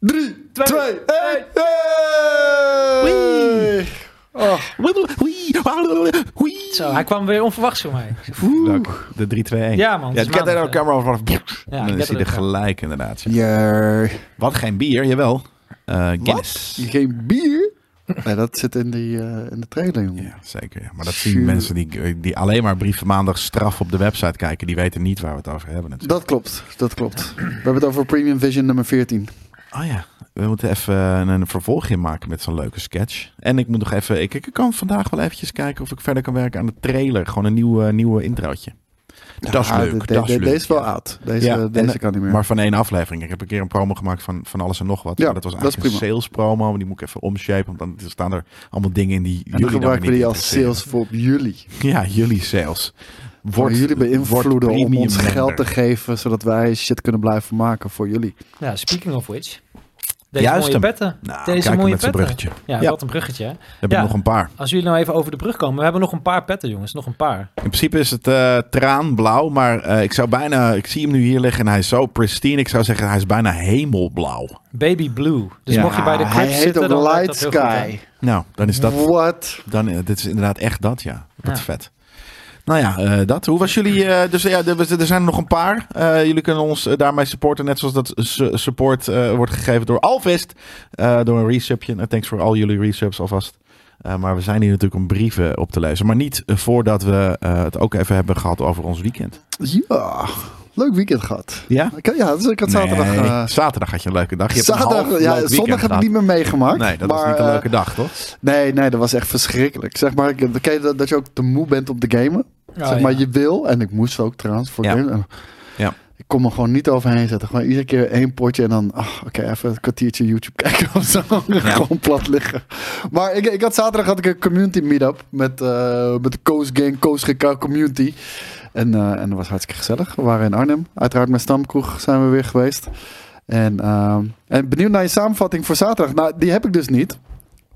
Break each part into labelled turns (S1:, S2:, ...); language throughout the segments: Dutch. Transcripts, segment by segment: S1: 3, 2, 1.
S2: Wee.
S1: Oh,
S2: Zo, hij kwam weer onverwachts voor mij.
S3: Leuk. De 3, 2, 1.
S2: Ja, man, het
S3: Ja,
S2: is
S3: ik ken daar
S2: maandag,
S3: ook camera over. vanaf-
S2: Ja,
S3: dan
S2: ik
S3: is hij
S2: heb
S3: er
S2: het ook,
S3: gelijk inderdaad.
S1: ja.
S3: Wat geen bier, jawel. Eh Guinness.
S1: Geen bier? Nee, dat zit in, die, eh, in de trailer, jongen.
S3: Ja, zeker. Ja. Maar dat zien
S1: Sure.
S3: mensen die, die alleen maar brieven maandag straf op de website kijken. Die weten niet waar we het over hebben. natuurlijk.
S1: Dat klopt, dat klopt. We hebben het over Premium Vision nummer 14.
S3: Oh ja, we moeten even een, een vervolgje maken met zo'n leuke sketch. En ik moet nog even, ik, ik kan vandaag wel eventjes kijken of ik verder kan werken aan de trailer. Gewoon een nieuw, eh, nieuwe introotje. dat is
S1: Ja,
S3: leuk,
S1: Ah, de- de-
S3: dat is
S1: de-
S3: leuk.
S1: Deze is wel
S3: ja.
S1: oud. Deze,
S3: Ja, en,
S1: deze
S3: eh,
S1: kan niet meer.
S3: Maar van één aflevering. Ik heb een keer een promo gemaakt van, van alles en nog wat.
S1: Ja,
S3: Maar dat was
S1: dat is
S3: eigenlijk een sales promo. Maar die moet ik even omshapen. Want dan staan er allemaal dingen in die
S1: en dan
S3: jullie dan
S1: gebruiken we
S3: weer
S1: die
S3: niet
S1: als
S3: interesseren.
S1: sales voor jullie.
S3: Ja, jullie sales. Wordt,
S1: Maar jullie
S3: wordt
S1: beïnvloeden om
S3: premium
S1: ons
S3: member.
S1: geld te geven, zodat wij shit kunnen blijven maken voor jullie.
S2: Ja, speaking of which. Deze
S3: Juist
S2: mooie
S3: hem.
S2: petten.
S3: Nou,
S2: Deze
S3: kijk
S2: mooie
S3: met
S2: petten.
S3: zijn bruggetje. Dan
S2: Ja,
S3: Ja.
S2: wat een bruggetje. hè.
S3: heb
S2: Ja.
S3: ik nog een paar.
S2: Als jullie nou even over de brug komen. We hebben nog een paar petten, jongens. Nog een paar.
S3: In principe is het eh, traanblauw, maar eh, ik zou bijna, ik zie hem nu hier liggen en hij is zo pristine. Ik zou zeggen, hij is bijna hemelblauw.
S2: Baby Blue. Dus
S3: Ja,
S2: mocht je bij de
S1: Ah,
S2: Crips
S1: hij heet
S2: zitten,
S1: ook
S2: dan werkt
S1: Light
S2: dat heel goed, hè.
S1: Sky.
S3: Nou, dan is dat,
S1: What?
S3: dan, eh, dit is inderdaad echt dat, ja. Wat
S2: Ja.
S3: vet. Nou ja, eh, dat. Hoe was jullie? eh, dus ja, er, er zijn er nog een paar. Eh, jullie kunnen ons eh, daarmee supporten. Net zoals dat su- support eh, wordt gegeven door Alvest. eh, door een resubje. Nou, thanks voor al jullie resubs alvast. Eh, maar we zijn hier natuurlijk om brieven op te lezen. Maar niet eh, voordat we eh, het ook even hebben gehad over ons weekend.
S1: Ja, leuk weekend gehad.
S3: Ja?
S1: Ik, had- ja, dus ik had zaterdag...
S3: Nee,
S1: eh,
S3: zaterdag had je een leuke dag. Je hebt een half
S1: Zaterdag,
S3: leuk
S1: ja,
S3: weekend
S1: zondag heb ik
S3: gehad.
S1: niet meer meegemaakt.
S3: Nee, dat
S1: maar,
S3: was niet een
S1: eh,
S3: leuke dag, toch?
S1: Nee, nee, dat was echt verschrikkelijk. Zeg maar, ik- ken je dat, dat je ook te moe bent op de gamen.
S2: Oh,
S1: zeg maar,
S2: ja.
S1: je wil, en ik moest ook trouwens voor
S3: Ja.
S1: gamen.
S3: Ja.
S1: Ik kon me gewoon niet overheen zetten. Gewoon iedere keer één potje en dan, ah, oké, even een kwartiertje YouTube kijken of zo. gewoon plat liggen. Maar ik, ik had zaterdag had ik een community meetup met, eh, met de Coast Gang, Coast GK community. En, eh, en dat was hartstikke gezellig. We waren in Arnhem. Uiteraard met Stamkroeg zijn we weer geweest. En, ehm, en benieuwd naar je samenvatting voor zaterdag. Nou, die heb ik dus niet.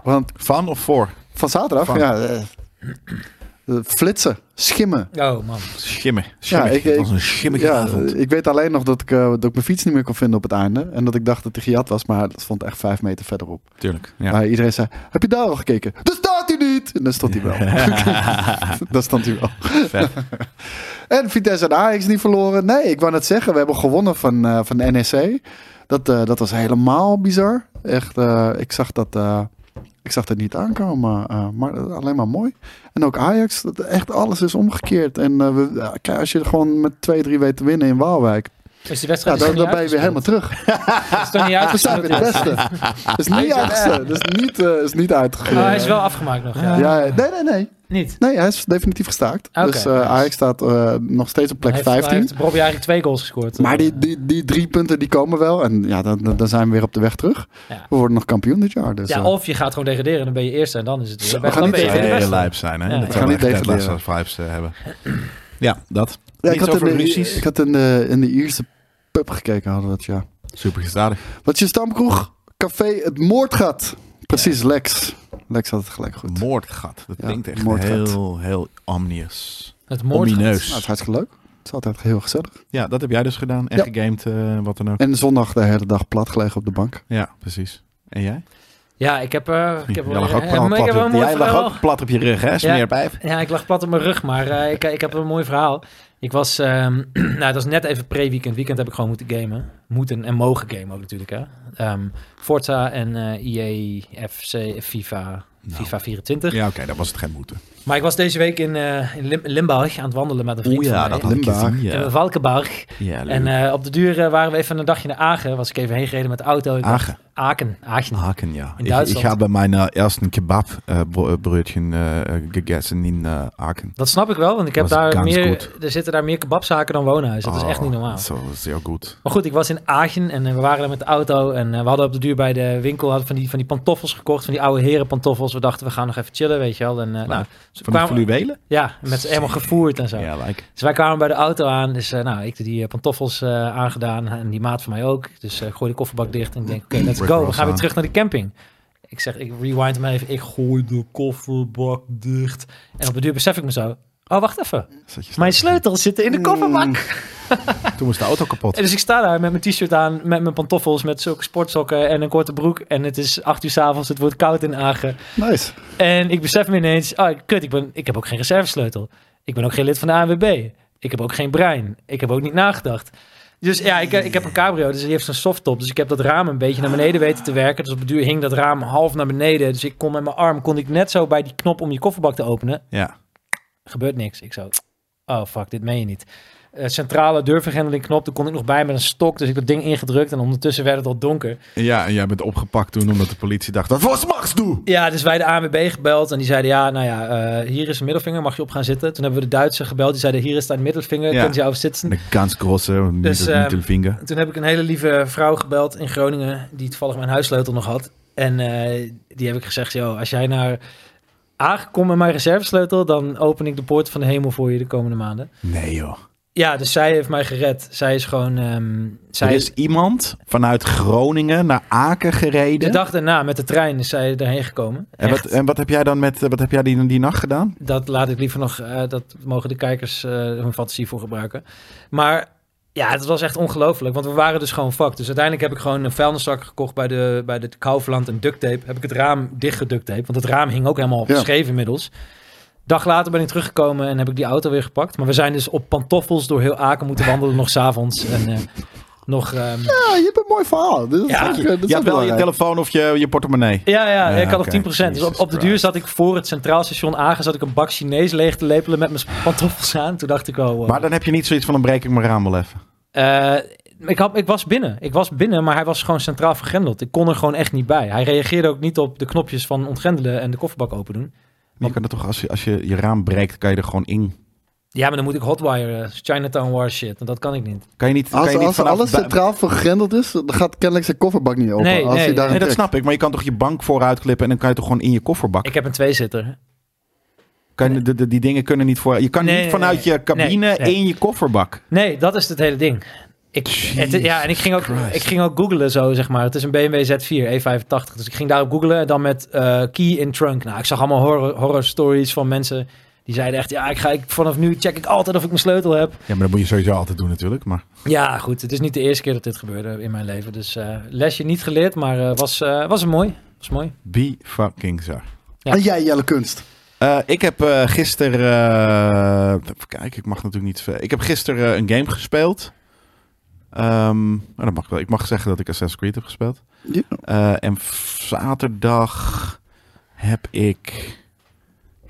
S1: Want
S3: Van of voor?
S1: van zaterdag?
S3: Van.
S1: Ja. eh, eh, flitsen, schimmen.
S2: Oh, man.
S3: Schimmen. Schimmen.
S1: ik-
S3: het
S1: ik-
S3: was een schimmige
S1: Ja,
S3: avond.
S1: eh, ik weet alleen nog dat ik, eh, dat ik mijn fiets niet meer kon vinden op het einde. En dat ik dacht dat die gejat was, maar dat stond echt vijf meter verderop.
S3: Tuurlijk. Ja.
S1: Maar iedereen zei, heb je daar al gekeken? Daar staat hij niet! En daar stond hij wel. daar stond hij wel.
S3: Vet.
S1: En Vitesse en Ajax niet verloren. Nee, ik wou net zeggen, we hebben gewonnen van, eh van NEC. Dat, eh, dat was helemaal bizar. Echt, eh, ik zag dat... eh, ik zag dat niet aankomen, eh, maar alleen maar mooi. En ook Ajax, dat echt alles is omgekeerd. En eh, we, ja, kijk, als je er gewoon met 2-3 weet te winnen in Waalwijk,
S2: Dus die
S1: ja,
S2: wedstrijd is
S1: dan, dan
S2: nog niet
S1: ben je weer helemaal terug.
S2: uitgespeeld. Is toch niet
S1: We zijn
S2: uitgespeeld,
S1: weer de
S2: die
S1: beste.
S2: wedstrijd?
S1: Dat is niet,
S2: Hij is
S1: uit, dat is niet, eh, is niet uitgegooid.
S2: Oh, hij is wel afgemaakt nog, ja.
S1: Ja, nee, nee, nee.
S2: Niet.
S1: Nee, hij is definitief gestaakt.
S2: Oké,
S1: dus eh,
S2: nice.
S1: Ajax staat eh, nog steeds op plek
S2: Hij heeft-
S1: 15.
S2: Hij heeft Bobby eigenlijk twee goals gescoord.
S1: Maar die, die, die drie punten die komen wel. En ja, dan, dan- dan zijn we weer op de weg terug.
S2: Ja.
S1: We worden nog kampioen dit jaar. Dus,
S2: Ja,
S1: eh,
S2: of je gaat gewoon degraderen en dan ben je eerste en dan is het weer.
S1: Zo, we
S2: dan
S1: gaan niet
S2: ben je
S3: Zou
S2: weer de
S1: degraderen.
S3: hele
S2: beste.
S3: lijp zijn, hè?
S2: Ja.
S3: Dat
S2: Ik
S3: zou
S1: ga
S3: niet
S1: niet
S3: tegen
S1: tegen
S3: als vibes eh, hebben. Ja, dat.
S1: ja, ik,
S3: Iets
S1: had
S3: over
S1: in de,
S3: ruzies.
S1: ik had in de, in de Ierse pub gekeken, hadden we het, ja.
S3: Super gestadig.
S1: Wat is je stamkroeg? Café Het Moordgat. Precies, Lex. Lex had het gelijk goed. Nou,
S3: Moordgat. Dat
S1: Ja,
S3: klinkt echt
S1: moordgat.
S3: heel, heel omnius.
S2: Het moord.
S3: Omineus.
S1: Nou, het is hartstikke leuk. Het is altijd heel gezellig.
S3: Ja, dat heb jij dus gedaan. En
S1: Ja.
S3: gegamed, eh, wat dan ook.
S1: En zondag de hele dag plat gelegen op de bank.
S3: Ja, precies. En jij?
S2: Ja, ik heb... eh, ik heb
S3: jij lag ook
S2: eh,
S3: plat,
S2: maar ik
S3: plat
S2: heb
S3: op,
S2: een mooi
S3: jij lag
S2: verhaal.
S3: ook plat op je rug, hè? Smeerpijp.
S2: Ja, ik lag plat op mijn rug, maar eh, ik, ik heb een mooi verhaal. Ik was, ehm, nou, dat was net even pre-weekend. Weekend heb ik gewoon moeten gamen. Moeten en mogen gamen ook natuurlijk, hè. Ehm, Forza en eh EA, FC, FIFA,
S3: Nou.
S2: FIFA 24.
S3: Ja, oké, dat was het geen moeten.
S2: Maar ik was deze week in, eh, in Lim- Limburg aan het wandelen met een vriend
S3: Oeh ja,
S2: van mij.
S3: dat had ik
S1: Limburg.
S3: gezien.
S2: In
S3: Ja,
S2: Valkenburg.
S3: ja leuk.
S2: En eh, op de duur eh, waren we even een dagje naar Agen. Was ik even heen gereden met de auto. Ik dacht,
S3: Agen.
S2: Aken. Aken.
S3: Haken, ja.
S2: In
S3: Ik, ik
S2: Duitsland.
S3: habe mijn ersten kebab eh, bro- eh, broodje eh, gegessen in eh, Aken.
S2: Dat snap ik wel, want ik heb
S3: Was
S2: daar
S3: ganz
S2: meer,
S3: goed.
S2: er zitten daar meer kebabzaken dan woonhuizen. Dus Dat is echt niet
S3: Oh,
S2: normaal.
S3: Zo, zeer goed.
S2: Maar goed, ik was in Aachen en eh, we waren daar met de auto. En eh, we hadden op de duur bij de winkel hadden van, die, van die pantoffels gekocht. Van die oude heren pantoffels. We dachten, we gaan nog even chillen, weet je wel. En, eh, nou, ze
S3: Van de
S2: kwamen-
S3: fluwelen?
S2: ja, met z'n helemaal gevoerd en zo.
S3: Ja, lijkt.
S2: Dus wij kwamen bij de auto aan. Dus eh, nou, ik had die eh, pantoffels eh, aangedaan. En die maat van mij ook. Dus eh, ik gooi de kofferbak dicht. En ik denk, oké, let's
S3: Rick
S2: go. We
S3: Ross
S2: gaan weer
S3: aan.
S2: terug naar de camping. Ik zeg, ik rewind hem even. Ik gooi de kofferbak dicht. En op de duur besef ik me zo. Oh, wacht even.
S3: Zat je
S2: Mijn sleutels zitten in de kofferbak.
S3: staan. Toen was de auto kapot.
S2: Nou. En dus ik sta daar met mijn t-shirt aan, met mijn pantoffels, met zulke sportsokken en een korte broek. En het is acht uur s'avonds, het wordt koud in Agen.
S1: Nice.
S2: En ik besef me ineens, ah kut, ik, ben, ik heb ook geen reservesleutel. Ik ben ook geen lid van de ANWB. Ik heb ook geen brein. Ik heb ook niet nagedacht. Dus ja, ik, ik heb een cabrio, dus die heeft zo'n softtop. Dus ik heb dat raam een beetje naar beneden weten te werken. Dus op het duur hing dat raam half naar beneden. Dus ik kon met mijn arm, kon ik net zo bij die knop om je kofferbak te openen.
S3: Ja.
S2: Gebeurt niks. Ik zo, oh fuck, dit meen je niet. Eh, centrale deurvergrendeling knop, daar kon ik nog bij met een stok. Dus ik heb dat ding ingedrukt en ondertussen werd het al donker.
S3: ja, en jij bent opgepakt toen omdat de politie dacht, dat was Max doe!
S2: Ja, dus wij de ANWB gebeld en die zeiden ja, nou ja, eh, hier is een middelvinger, mag je op gaan zitten. Toen hebben we de Duitse gebeld, die zeiden hier is de middelvinger,
S3: Ja.
S2: kunt je over zitten.
S3: Een ganz grosse, niet,
S2: Dus,
S3: niet
S2: ehm,
S3: een vinger.
S2: Toen heb ik een hele lieve vrouw gebeld in Groningen, die toevallig mijn huissleutel nog had. En eh, die heb ik gezegd, joh, als jij naar Aag komt met mijn reservesleutel, dan open ik de poort van de hemel voor je de komende maanden.
S3: Nee joh.
S2: Ja, dus zij heeft mij gered. Zij is gewoon, ehm, zij
S3: Er is iemand vanuit Groningen naar Aken
S2: de
S3: gereden.
S2: dag daarna met de trein is zij erheen gekomen.
S3: en,
S2: Echt.
S3: wat, en wat heb jij dan met, eh, wat heb jij die, die nacht gedaan?
S2: Dat laat ik liever nog, eh, dat mogen de kijkers eh, hun fantasie voor gebruiken. Maar ja, het was echt ongelooflijk, want we waren dus gewoon fucked. Dus uiteindelijk heb ik gewoon een vuilniszak gekocht bij de, bij de Kaufland en duct tape. Heb ik het raam dicht geduct tape, want het raam hing ook helemaal
S1: Ja.
S2: scheef inmiddels. Dag later ben ik teruggekomen en heb ik die auto weer gepakt. Maar we zijn dus op pantoffels door heel Aken moeten wandelen, nog s'avonds. En eh, nog... ehm,
S1: Ja, je hebt een mooi verhaal. Dit is
S2: Ja,
S1: ook, eh, dit is
S3: Je
S1: ook
S3: had wel je
S1: belangrijk.
S3: telefoon of je, je portemonnee.
S2: Ja, ja,
S3: Ja,
S2: ik had
S3: oké.
S2: nog 10%. Dus op,
S3: Jesus
S2: op de duur
S3: Christ.
S2: zat ik voor het centraal station aange, zat ik een bak Chinees leeg te lepelen met mijn pantoffels aan. Toen dacht ik wel, wow.
S3: Maar dan heb je niet zoiets van, dan breek ik mijn raam wel even.
S2: Eh, ik, had, ik was binnen. Ik was binnen, maar hij was gewoon centraal vergrendeld. Ik kon er gewoon echt niet bij. Hij reageerde ook niet op de knopjes van ontgrendelen en de kofferbak open doen.
S3: Maar je kan er toch, als je, als je je raam breekt, kan je er gewoon in.
S2: Ja, maar dan moet ik hotwire, eh, Chinatown War shit. En dat kan ik niet.
S3: Kan je niet, kan
S1: Als,
S3: je niet
S1: als
S3: vanaf
S1: alles
S3: bui-
S1: centraal vergrendeld is, dan gaat kennelijk zijn kofferbak niet open.
S2: Nee,
S1: als
S2: nee,
S1: hij daar
S2: nee,
S3: Nee,
S1: een
S3: dat
S1: trekt.
S3: snap ik. Maar je kan toch je bank vooruit klippen en dan kan je toch gewoon in je kofferbak.
S2: Ik heb een tweezitter.
S3: Kan je, de, de- die dingen kunnen niet voor. Je kan
S2: Nee,
S3: niet
S2: nee,
S3: vanuit
S2: nee.
S3: je cabine
S2: Nee, nee.
S3: in je kofferbak.
S2: Nee, dat is het hele ding. Ik, het,
S3: Jesus
S2: ja, en ik ging, ook,
S3: Christ.
S2: ik ging ook googlen zo, zeg maar. Het is een BMW Z4 E85. Dus ik ging daarop googlen en dan met eh, key in trunk. Nou, ik zag allemaal horror, horror stories van mensen die zeiden echt... Ja, ik ga, ik, vanaf nu check ik altijd of ik mijn sleutel heb.
S3: Ja, maar dat moet je sowieso altijd doen natuurlijk. Maar
S2: Ja, goed. Het is niet de eerste keer dat dit gebeurde in mijn leven. Dus eh, lesje niet geleerd, maar eh, was, eh was mooi. Was mooi.
S3: be fucking zar.
S2: Ja.
S1: En jij, Jelle Kunst.
S3: Eh, ik heb eh gisteren. eh, even kijken, ik mag natuurlijk niet. ver- Ik heb gisteren eh, een game gespeeld. Ehm, maar dat mag ik wel. Ik mag zeggen dat ik Assassin's Creed heb gespeeld.
S1: Ja.
S3: Eh, en v- zaterdag heb ik.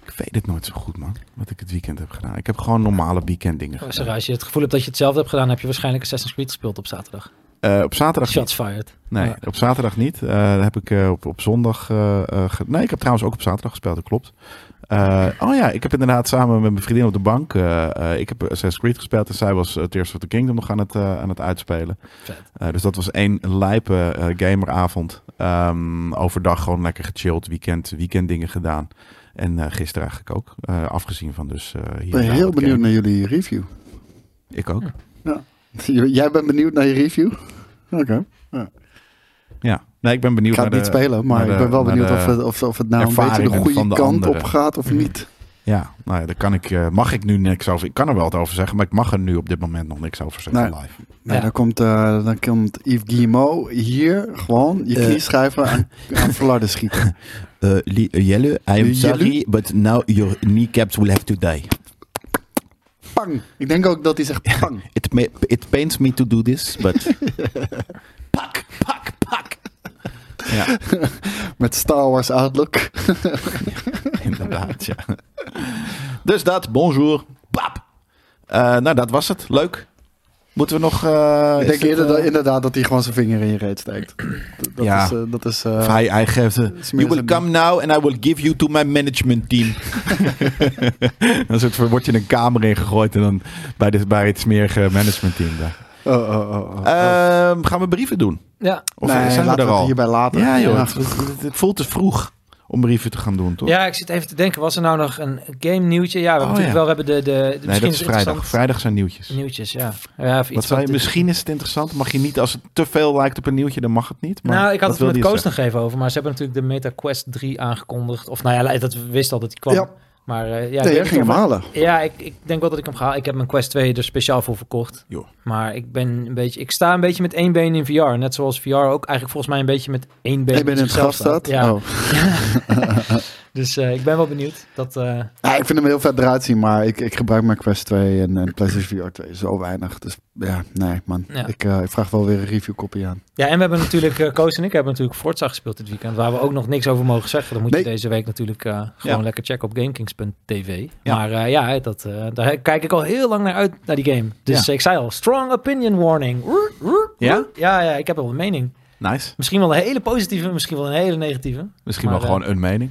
S3: Ik weet het nooit zo goed, man. Wat ik het weekend heb gedaan. Ik heb gewoon normale weekenddingen
S2: Oh,
S3: gedaan.
S2: Sarah, als je het gevoel hebt dat je hetzelfde hebt gedaan, heb je waarschijnlijk Assassin's Creed gespeeld op zaterdag.
S3: Eh, op zaterdag
S2: Shots fired.
S3: Nee,
S2: Ja.
S3: op zaterdag niet. Eh, dat heb ik eh, op, op zondag. eh, eh, ge- nee, ik heb trouwens ook op zaterdag gespeeld, dat klopt. Eh, oh ja, ik heb inderdaad samen met mijn vriendin op de bank. eh, eh, ik heb Assassin's Creed gespeeld en zij was eh, Tears of the Kingdom nog aan het, eh, aan het uitspelen.
S2: Vet.
S3: Eh, dus dat was één lijpe eh, gameravond. Ehm, overdag gewoon lekker gechilled, weekend, weekenddingen gedaan. En eh, gisteren eigenlijk ook. Eh, afgezien van dus eh, hier.
S1: Ik
S3: en
S1: ben
S3: daar
S1: heel
S3: wat
S1: benieuwd
S3: game.
S1: naar jullie review.
S3: Ik ook.
S1: Jij bent benieuwd naar je review? Oké.
S3: Ja. Nee, ik ben
S1: Ik
S3: benieuwd
S1: ga het
S3: naar
S1: niet
S3: de-
S1: spelen,
S3: naar
S1: maar ik
S3: de-
S1: ben wel
S3: naar
S1: benieuwd
S3: de
S1: of het, of, of het nou een beetje de
S3: ervaringen
S1: goede
S3: van de
S1: kant
S3: anderen. Mhm.
S1: op gaat of niet.
S3: Ja, nou ja, daar kan ik, eh, mag ik nu niks over. Ik kan er wel wat over zeggen, maar ik mag er nu op dit moment nog niks over zeggen
S1: Nee.
S3: live.
S1: Nou,
S2: Ja.
S1: dan, komt, eh, dan komt Yves Guillemot hier gewoon je
S3: Eh.
S1: knie schrijven aan, aan flarden schieten.
S3: Jelle, I
S1: am sorry,
S3: but now your kneecaps will have to die.
S1: Pang! Ik denk ook dat hij zegt pang.
S3: It, it pains me to do this, but... pak, pak, pak! Ja,
S1: Met Star Wars Outlook.
S3: inderdaad, ja. Dus dat, bonjour, pap! Eh, nou, dat was het. Leuk. Moeten we nog... eh,
S1: ik
S3: is
S1: denk
S3: het,
S1: eerder
S3: eh,
S1: dat, inderdaad dat hij gewoon zijn vinger in je reet steekt. Dat
S3: Ja.
S1: is... eh, dat is eh,
S3: Of hij, hij geeft. eh, you
S1: meer
S3: will
S1: een-
S3: come now and I will give you to my management team. dan soort van, word je in een kamer ingegooid en dan bij, de, bij het smerige management team. Daar.
S1: oh, oh, oh, oh, oh.
S3: Ehm, gaan we brieven doen?
S2: Ja.
S3: Of
S1: Nee,
S3: zijn we
S1: laten
S3: er
S1: het
S3: al?
S1: hierbij laten.
S3: Ja, joh.
S1: Ja.
S3: Het, het- het voelt te vroeg om brieven te gaan doen, toch?
S2: ja, ik zit even te denken, was er nou nog een game nieuwtje? Ja, we hebben
S3: Oh,
S2: natuurlijk
S3: ja.
S2: wel we hebben de... de, de misschien
S3: nee, dat
S2: het
S3: is vrijdag.
S2: interessant- Mm,
S3: Vrijdag zijn nieuwtjes.
S2: Nieuwtjes, ja. ja of iets
S3: Wat zei je?
S2: dit-
S3: Misschien is het interessant. Mag je niet, als het te veel lijkt op een nieuwtje, dan mag het niet. Maar
S2: nou, ik
S3: wat
S2: had het
S3: wilde
S2: met
S3: je
S2: Koos
S3: zeggen?
S2: nog even over, maar ze hebben natuurlijk de Meta Quest 3 aangekondigd. Of nou ja, dat wist al dat die kwam.
S1: Ja.
S2: Maar eh, ja, ik
S1: nee,
S2: weet
S1: jij
S2: niet
S1: ging
S2: of-
S1: hem halen.
S2: Ja, ik, ik denk wel dat ik hem ga halen. Ik heb mijn Quest 2 er speciaal voor verkocht.
S3: Joh.
S2: Maar ik ben een beetje... Ik sta een beetje met één been in VR. Net zoals VR ook eigenlijk volgens mij een beetje met één been
S1: Ik ben in het
S2: zichzelf
S1: graf staat.
S2: Ja,
S1: Oh.
S2: dus eh, ik ben wel benieuwd. Dat, eh,
S1: Ja, ik vind hem heel vet eruit zien, maar ik, ik gebruik mijn Quest 2 en, en PlayStation VR 2 zo weinig. Dus ja, nee man.
S2: Ja.
S1: Ik, eh, ik vraag wel weer een review kopie aan.
S2: Ja, en we hebben natuurlijk... eh, Koos en ik hebben natuurlijk Forza gespeeld dit weekend. Waar we ook nog niks over mogen zeggen. Dan moet je
S1: Nee.
S2: deze week natuurlijk eh, gewoon
S3: Ja.
S2: lekker checken op GameKings.tv.
S3: Ja.
S2: Maar eh, ja, dat, eh, daar kijk ik al heel lang naar uit, naar die game. Dus
S3: Ja.
S2: ik zei al, strong opinion warning. Roer, roer.
S3: Ja?
S2: Ja, ja, ik heb wel een mening.
S3: Nice.
S2: Misschien wel een hele positieve, misschien wel een hele negatieve.
S3: Misschien
S2: Maar, eh,
S3: wel gewoon een mening.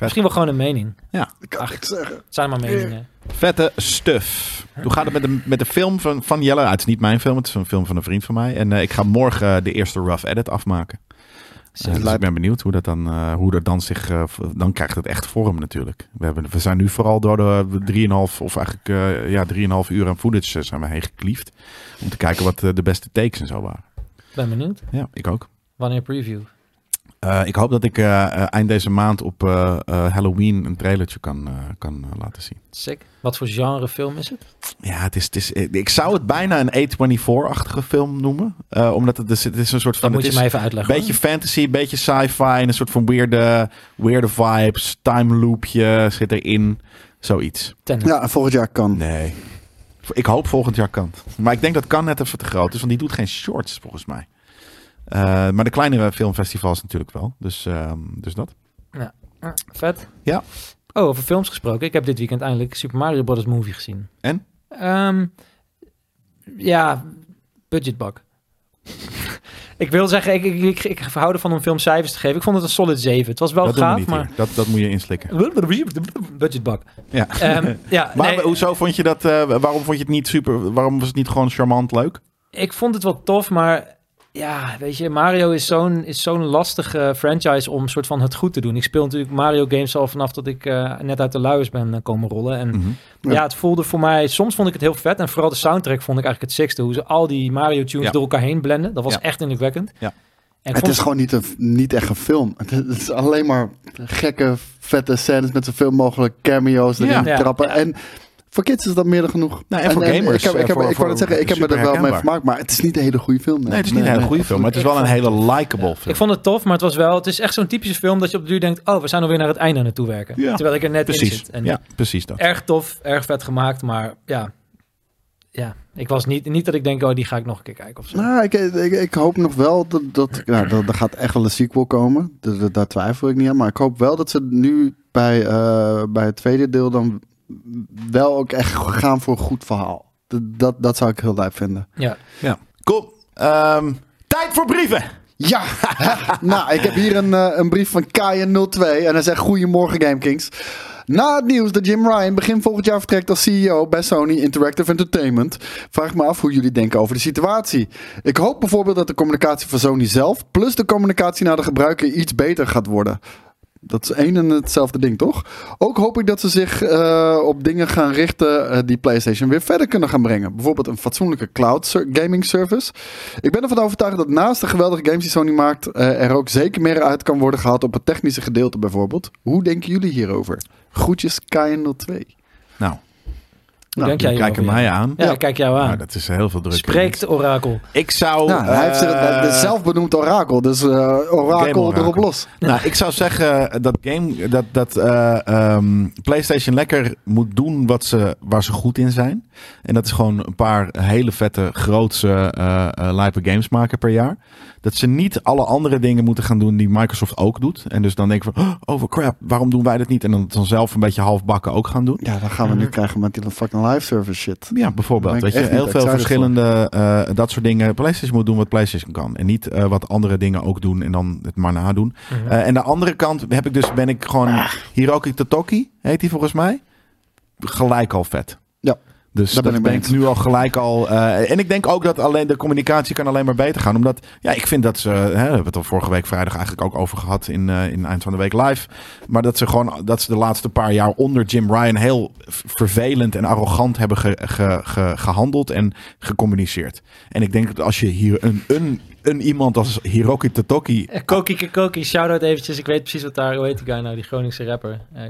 S2: Misschien wel gewoon een mening.
S1: Ik kan niks zeggen.
S2: Het zijn maar meningen.
S3: Vette stuff. Hoe gaat het met de, met de film van, van Jelle? Ah, het is niet mijn film, het is een film van een vriend van mij. En eh, ik ga morgen eh, de eerste rough edit afmaken. Eh, dus ik ben benieuwd hoe dat dan, eh, hoe dat dan zich... eh, v- dan krijgt het echt vorm natuurlijk. We, hebben, we zijn nu vooral door de drieënhalf... of eigenlijk eh, ja, drieënhalf uur aan footage eh, zijn we heen gekliefd. Om te kijken wat eh, de beste takes en zo waren.
S2: Ben benieuwd.
S3: Ja, ik ook.
S2: Wanneer preview?
S3: Eh, ik hoop dat ik eh, eh, eind deze maand op eh, eh, Halloween een trailertje kan, eh, kan eh, laten zien.
S2: Sick. Wat voor genre film is het?
S3: Ja, het is, het is, eh, ik zou het bijna een A24-achtige film noemen. Eh, omdat het, het is een soort
S2: Dan
S3: van...
S2: moet je
S3: het is
S2: mij even
S3: een
S2: uitleggen.
S3: beetje fantasy, een beetje sci-fi. En een soort van weirde, weirde vibes. Time loopje zit erin. Zoiets.
S2: Tenet.
S1: Ja, en volgend jaar kan.
S3: Nee. Ik hoop volgend jaar kan. Maar ik denk dat kan net even te groot is. Want die doet geen shorts, volgens mij. Eh, maar de kleinere filmfestivals natuurlijk wel. Dus, ehm, dus dat.
S2: Ah, Vet.
S3: Ja.
S2: Oh, over films gesproken. Ik heb dit weekend eindelijk Super Mario Bros. Movie gezien.
S3: En?
S2: Ehm, ja, budgetbak. ik wil zeggen, ik, ik, ik, ik hou ervan om filmcijfers te geven. Ik vond het een solid 7. Het was wel
S3: dat doen we
S2: gaaf,
S3: niet
S2: maar...
S3: hier. Dat, dat moet je inslikken.
S2: Budgetbak.
S3: Ja.
S2: Ehm, ja,
S3: Maar
S2: nee.
S3: hoezo vond je dat... eh, waarom vond je het niet super... Waarom was het niet gewoon charmant leuk?
S2: ik vond het wel tof, maar ja, weet je, Mario is zo'n is zo'n lastige franchise om soort van het goed te doen. Ik speel natuurlijk Mario games al vanaf dat ik eh, net uit de luiers ben eh, komen rollen. En
S3: Mhm.
S2: ja. het voelde voor mij, soms vond ik het heel vet. En vooral de soundtrack vond ik eigenlijk het sixte. Hoe ze al die Mario tunes
S3: Ja.
S2: door elkaar heen blenden. Dat was
S3: Ja.
S2: echt indrukwekkend.
S3: Ja.
S2: En ik
S1: Het
S2: vond-
S1: is gewoon niet, een, niet echt een film. Het is, het is alleen maar gekke, vette scènes met zoveel mogelijk cameo's erin
S3: Ja.
S2: Ja.
S1: trappen. En voor kids is dat meer dan genoeg.
S3: Nou, en voor gamers,
S1: Ik, heb, ik, heb, ik
S3: eh, voor-
S1: wou
S3: voor-
S1: net zeggen, ik heb me er wel mee
S3: superherkenbaar.
S1: vermaakt, maar het is niet een hele goede film.
S3: Nee, het is niet een hele goede film, maar het is wel een hele likable film.
S2: Ik vond het tof, maar het was wel... Het is echt zo'n typische film dat je op de duur denkt... Oh, we zijn alweer naar het einde aan het toewerken.
S3: Ja.
S2: Terwijl ik er net in
S3: precies.
S2: zit. En
S3: ja, precies dat.
S2: erg tof, erg vet gemaakt, maar ja. Ja, ik was niet, niet dat ik denk, oh, die ga ik nog een keer kijken of zo.
S1: Nou, ik, ik, ik hoop nog wel dat, dat, nou, dat er gaat echt wel een sequel komen. Dat- dat- daar twijfel ik niet aan. Maar ik hoop wel dat ze nu bij, eh, bij het tweede deel dan wel ook echt gaan voor een goed verhaal. Dat, dat, dat zou ik heel leuk vinden.
S3: Nou,
S2: Ja.
S3: Kom, ehm, tijd voor brieven.
S1: Ja, nou, ik heb hier een, eh, een brief van Kaya02 en hij zegt: Goedemorgen, GameKings. Na het nieuws dat Jim Ryan begin volgend jaar vertrekt als CEO bij Sony Interactive Entertainment, vraag ik me af hoe jullie denken over de situatie. Ik hoop bijvoorbeeld dat de communicatie van Sony zelf, plus de communicatie naar de gebruiker, iets beter gaat worden. Dat is één en hetzelfde ding, toch? Ook hoop ik dat ze zich eh, op dingen gaan richten eh, die PlayStation weer verder kunnen gaan brengen. Bijvoorbeeld een fatsoenlijke cloud ser- gaming service. Ik ben ervan overtuigd dat naast de geweldige games die Sony maakt, eh, er ook zeker meer uit kan worden gehaald op het technische gedeelte bijvoorbeeld. Hoe denken jullie hierover? Groetjes KN02.
S3: Nou,
S2: Hoe denk jij
S3: kijk er
S2: hierover,
S3: mij
S2: Jan?
S3: aan.
S2: Ja,
S1: Ja.
S2: ik kijk jou aan.
S3: Nou, dat is heel veel druk.
S2: Spreekt orakel.
S3: Ik zou...
S1: Nou, hij heeft zich het,
S3: eh,
S1: het is zelf benoemd orakel, dus eh,
S3: Game
S1: orakel
S3: Oracle.
S1: erop los.
S3: Nou, ik zou zeggen dat game, dat, dat eh, ehm, PlayStation lekker moet doen wat ze, waar ze goed in zijn. En dat is gewoon een paar hele vette, grootse eh eh, lijpe games maken per jaar. Dat ze niet alle andere dingen moeten gaan doen die Microsoft ook doet. En dus dan denken van, oh crap, waarom doen wij dat niet? En dan, dan zelf een beetje halfbakken ook gaan doen.
S1: Ja, dan gaan we nu krijgen met die fucking live service shit.
S3: Ja, bijvoorbeeld.
S1: Daar ben
S3: Weet
S1: ik
S3: je,
S1: echt niet
S3: heel veel
S1: excited
S3: verschillende eh, dat soort dingen. PlayStation moet doen wat PlayStation kan. En niet eh, wat andere dingen ook doen en dan het maar nadoen.
S2: Mhm.
S3: Eh, en de andere kant heb ik dus, ben ik
S1: Ah.
S3: gewoon Hiroki Totoki, heet hij volgens mij. Gelijk al vet.
S1: Ja.
S3: Dus
S1: Daar ben
S3: dat
S1: ik mee
S3: brengt
S1: eens.
S3: nu al gelijk al. eh, en ik denk ook dat alleen de communicatie kan alleen maar beter gaan. Omdat, ja, ik vind dat ze. Hè, we hebben het al vorige week vrijdag eigenlijk ook over gehad in, eh, in Eind van de Week Live. Maar dat ze gewoon. Dat ze de laatste paar jaar onder Jim Ryan heel v- vervelend en arrogant hebben ge- ge- ge- gehandeld en gecommuniceerd. En ik denk dat als je hier een, een, een iemand als Hiroki Totoki.
S2: Eh, Koki Koki, shout-out eventjes. Ik weet precies wat daar, hoe heet die guy nou, die Groningse rapper. eh,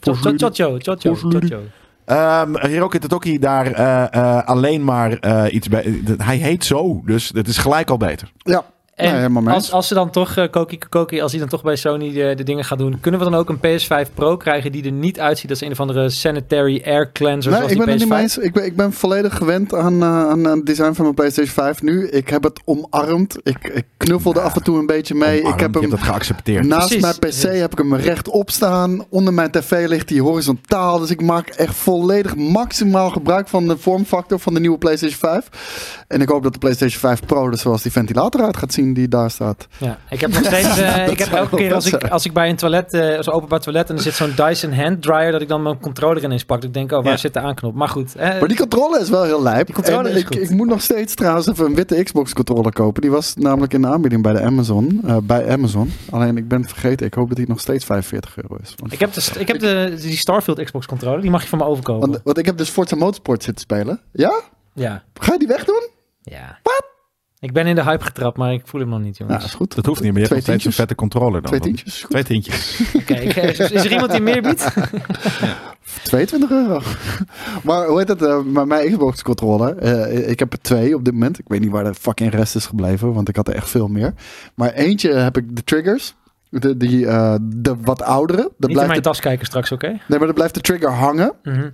S3: Poesludy.
S2: Chocho, Chocho,
S3: Poesludy.
S2: Chocho.
S3: Ehm Hiroki Totoki daar eh, eh, alleen maar eh, iets bij. Hij heet zo. Dus het is gelijk al beter.
S1: Ja, nee, helemaal
S2: En
S1: mee
S2: als,
S1: eens.
S2: als ze dan toch, eh, Koki Koki, als hij dan toch bij Sony eh, de, de dingen gaat doen, kunnen we dan ook een PS5 Pro krijgen die er niet uitziet als een of andere sanitary air cleanser?
S1: Nee,
S2: zoals
S1: ik ben
S2: die
S1: het niet
S2: PS5?
S1: mee eens. Ik ben, ik ben volledig gewend aan, eh, aan, aan het design van mijn PlayStation 5 nu. Ik heb het omarmd. Ik, ik knuffelde af en toe een beetje mee.
S3: Omarmd,
S1: ik heb
S3: Oh, je hebt
S1: hem
S3: dat geaccepteerd.
S1: Naast
S2: Precies.
S1: mijn PC heb ik hem rechtop staan. Onder mijn tv ligt hij horizontaal. Dus ik maak echt volledig maximaal gebruik van de vormfactor van de nieuwe PlayStation 5. En ik hoop dat de PlayStation 5 Pro er zoals die ventilator uit gaat zien die daar staat.
S2: Ja, ik heb nog steeds. eh, ik heb
S1: zou
S2: elke keer
S1: wel
S2: als ik,
S1: zijn.
S2: als ik bij een toilet, eh zo'n openbaar toilet, en er zit zo'n Dyson hand dryer, dat ik dan mijn controller ineens pak. Dat ik denk, oh, waar
S3: Ja.
S2: zit de aanknop? Maar goed. eh,
S1: Maar die controller is wel heel lijp.
S2: Die controller
S1: En
S2: is
S1: ik,
S2: goed.
S1: ik moet nog steeds trouwens even een witte Xbox controller kopen. Die was namelijk in de aanbieding bij de Amazon. eh, bij Amazon. Alleen ik ben het vergeten. Ik hoop dat die nog steeds 45 euro is. Want,
S2: ik heb, de, ik heb de, die Starfield Xbox controller, die mag je van me overkomen.
S1: want, want ik heb dus Forza Motorsport zitten spelen. Ja?
S2: ja.
S1: Ga je die wegdoen?
S2: ja. Wat? Ik ben in de hype getrapt, maar ik voel hem nog niet,
S1: Nou,
S2: jongens.
S1: is goed.
S3: Dat hoeft niet, maar je hebt
S1: Twee
S3: nog steeds
S1: tientjes.
S3: een vette controller dan.
S1: Twee tientjes. is goed.
S3: Twee tientjes.
S2: Oké, ik- is, is er iemand die meer biedt?
S1: 22 euro. maar hoe heet dat? eh, maar mijn Xbox controller. eh, ik heb er twee op dit moment. Ik weet niet waar de fucking rest is gebleven, want ik had er echt veel meer. Maar eentje heb ik de triggers. De, die, eh, de wat oudere. Dat
S2: Niet in mijn
S1: blijft de,
S2: tas kijken straks, oké?
S1: nee, maar dat blijft de trigger hangen.
S2: Mhm.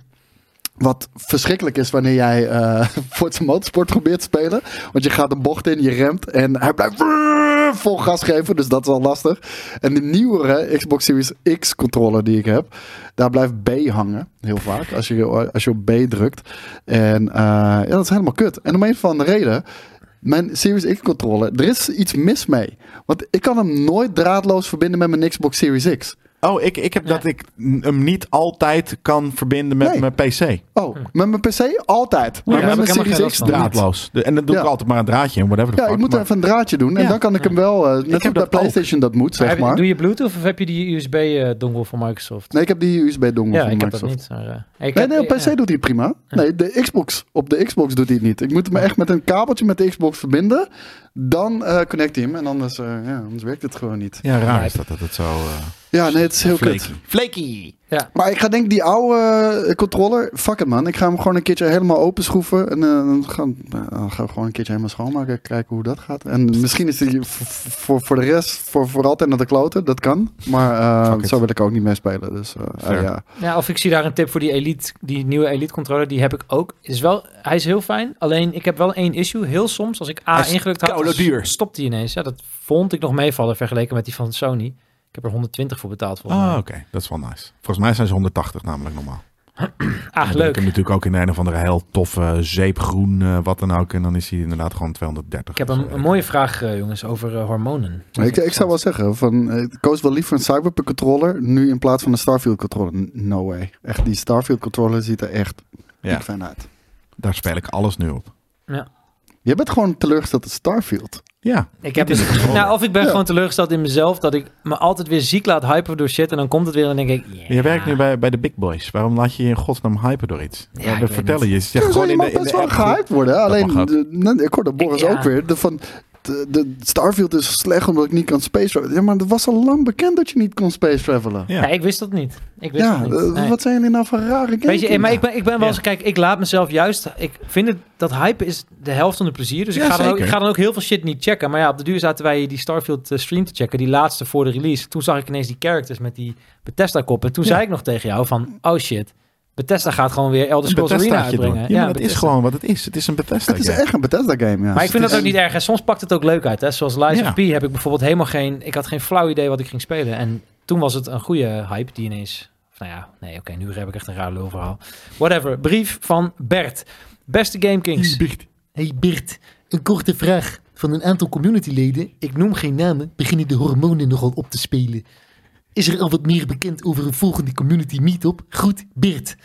S1: Wat verschrikkelijk is wanneer jij eh Forza Motorsport probeert te spelen. Want je gaat een bocht in, je remt en hij blijft vol gas geven. Dus dat is al lastig. En de nieuwere Xbox Series X controller die ik heb, daar blijft B hangen. Heel vaak, als je, als je op B drukt. En eh, ja, dat is helemaal kut. En om een van de reden... Mijn Series X controller, er is iets mis mee. Want ik kan hem nooit draadloos verbinden met mijn Xbox Series X.
S3: Oh, ik, ik heb dat ik n- hem niet altijd kan verbinden met
S1: Nee.
S3: mijn PC.
S1: Oh, met mijn PC altijd. Maar met
S2: daar heb ik
S1: mijn
S2: helemaal geen
S1: Series
S2: last
S1: X
S2: van.
S1: draadloos.
S3: Draadloos. De- en dan doe ik
S1: Ja.
S3: altijd maar een draadje in, whatever. the
S1: Ja, ik
S3: fuck,
S1: moet
S3: maar-
S1: even een draadje doen. En
S3: Ja.
S1: dan kan ik hem wel, eh, net
S3: heb
S1: als bij
S3: dat
S1: PlayStation dat moet,
S2: Maar
S1: zeg
S2: heb je-
S1: maar.
S2: Doe je Bluetooth of heb je die USB-dongel eh, van Microsoft?
S1: Nee, ik heb die USB-dongel
S2: ja,
S1: van
S2: ik heb dat
S1: Microsoft.
S2: niet. Maar, eh, ik
S1: Nee,
S2: heb-
S1: nee, op PC
S2: ja.
S1: doet hij het prima. Nee, de Xbox, op de Xbox doet hij het niet. Ik moet hem echt met een kabeltje met de Xbox verbinden. Dan eh, connect hij hem en anders, eh, ja, anders werkt het gewoon niet.
S3: Ja, raar is dat dat het zo... eh,
S1: Ja, Ah, nee, het is heel
S3: flaky.
S1: kut.
S3: Flaky!
S1: Maar ik ga denk ik die oude eh, controller, fuck it man. Ik ga hem gewoon een keertje helemaal openschroeven. En eh, dan gaan, eh, dan gaan we gewoon een keertje helemaal schoonmaken. Kijken hoe dat gaat. En misschien is die v- voor, voor de rest, voor, voor altijd naar de kloten. Dat kan. Maar eh,
S3: Fuck it.
S1: zo wil ik ook niet meer spelen. Dus eh,
S3: Fair.
S1: eh, ja.
S2: Ja, of ik zie daar een tip voor die Elite, die nieuwe Elite controller, die heb ik ook. Is wel, hij is heel fijn, alleen ik heb wel één issue. Heel soms, als ik A
S3: Hij is
S2: ingelukt had,
S3: koude
S2: dan
S3: duur.
S2: stopt hij ineens. Ja, dat vond ik nog meevallen vergeleken met die van Sony. Ik heb er 120 voor betaald volgens
S1: Oh,
S3: Ah,
S2: mij.
S3: oké. Dat is wel nice. Volgens mij zijn ze 180 namelijk normaal.
S2: Ah,
S3: Dan doe Ik
S2: leuk.
S3: hem natuurlijk ook in een of andere heel toffe zeepgroen, eh, wat dan ook. En dan is hij inderdaad gewoon 230.
S2: Ik heb een,
S3: Dus, eh,
S2: een mooie vraag, eh, jongens, over eh, hormonen.
S1: Ik, ik zou wel zeggen, van, eh, ik koos wel liever een Cyberpunk controller nu in plaats van een Starfield controller. N- No way. Echt, die Starfield controller ziet er echt
S3: Ja.
S1: niet fijn uit.
S3: Daar speel ik alles nu op.
S1: Je bent gewoon teleurgesteld dat Starfield.
S3: Ja.
S2: Ik heb
S3: Dit is
S2: dus,
S3: gewoon-
S2: nou, of ik ben
S1: Ja.
S2: gewoon teleurgesteld in mezelf, dat ik me altijd weer ziek laat hypen door shit. En dan komt het weer en dan denk ik, ja.
S3: Je werkt nu bij, bij de big boys. Waarom laat je je in godsnaam hypen door iets?
S2: Ja,
S3: Ja,
S2: ik
S3: we
S2: weet
S3: vertellen je. Je zegt
S1: Ja,
S3: gewoon
S1: je
S3: in
S1: mag
S3: de, in
S1: best
S3: de
S1: wel
S3: appgroep.
S1: gehyped worden. Alleen,
S3: mag ook.
S1: de- nee, ik hoorde Boris
S2: Ja.
S1: ook weer. De, van, de, de Starfield is slecht omdat ik niet kan space travelen. Ja, maar het was al lang bekend dat je niet kon space travelen.
S3: Ja.
S2: Ja, ik wist dat niet. Ik wist
S1: Ja,
S2: dat niet.
S1: eh,
S2: Nee.
S1: wat zijn jullie nou voor rare games?
S2: Weet je, eh, maar ik ben, ik ben wel eens,
S3: Ja.
S2: kijk, ik laat mezelf juist, ik vind het, dat hype is de helft van de plezier. Dus ik,
S3: Ja,
S2: ga dan ook,
S3: zeker.
S2: ik ga dan ook heel veel shit niet checken. Maar ja, op de duur zaten wij die Starfield eh, stream te checken, die laatste voor de release. Toen zag ik ineens die characters met die Bethesda kop. En toen
S3: Ja.
S2: zei ik nog tegen jou van, oh shit, Bethesda gaat gewoon weer Elder Scrolls Arena
S3: Bethesdaatje doen.
S2: uitbrengen.
S3: Ja, maar dat is
S2: Bethesda.
S3: gewoon wat het is. Het is een Bethesda.
S1: Het is
S3: game.
S1: echt een Bethesda game, ja.
S2: Maar ik vind dat ook niet erg. En soms pakt het ook leuk uit. Hè? Zoals Lies
S3: Ja.
S2: of P heb ik bijvoorbeeld helemaal geen... Ik had geen flauw idee wat ik ging spelen. En toen was het een goede hype die ineens... Of nou ja, nee, oké, nu heb ik echt een raar lulverhaal. Whatever. Brief van Bert. Beste Gamekings.
S4: Hey Bert, een korte vraag. Van een aantal communityleden, ik noem geen namen, beginnen de hormonen nogal op te spelen. Is er al wat meer bekend over een volgende community meetup? Goed, Bert.
S3: Ik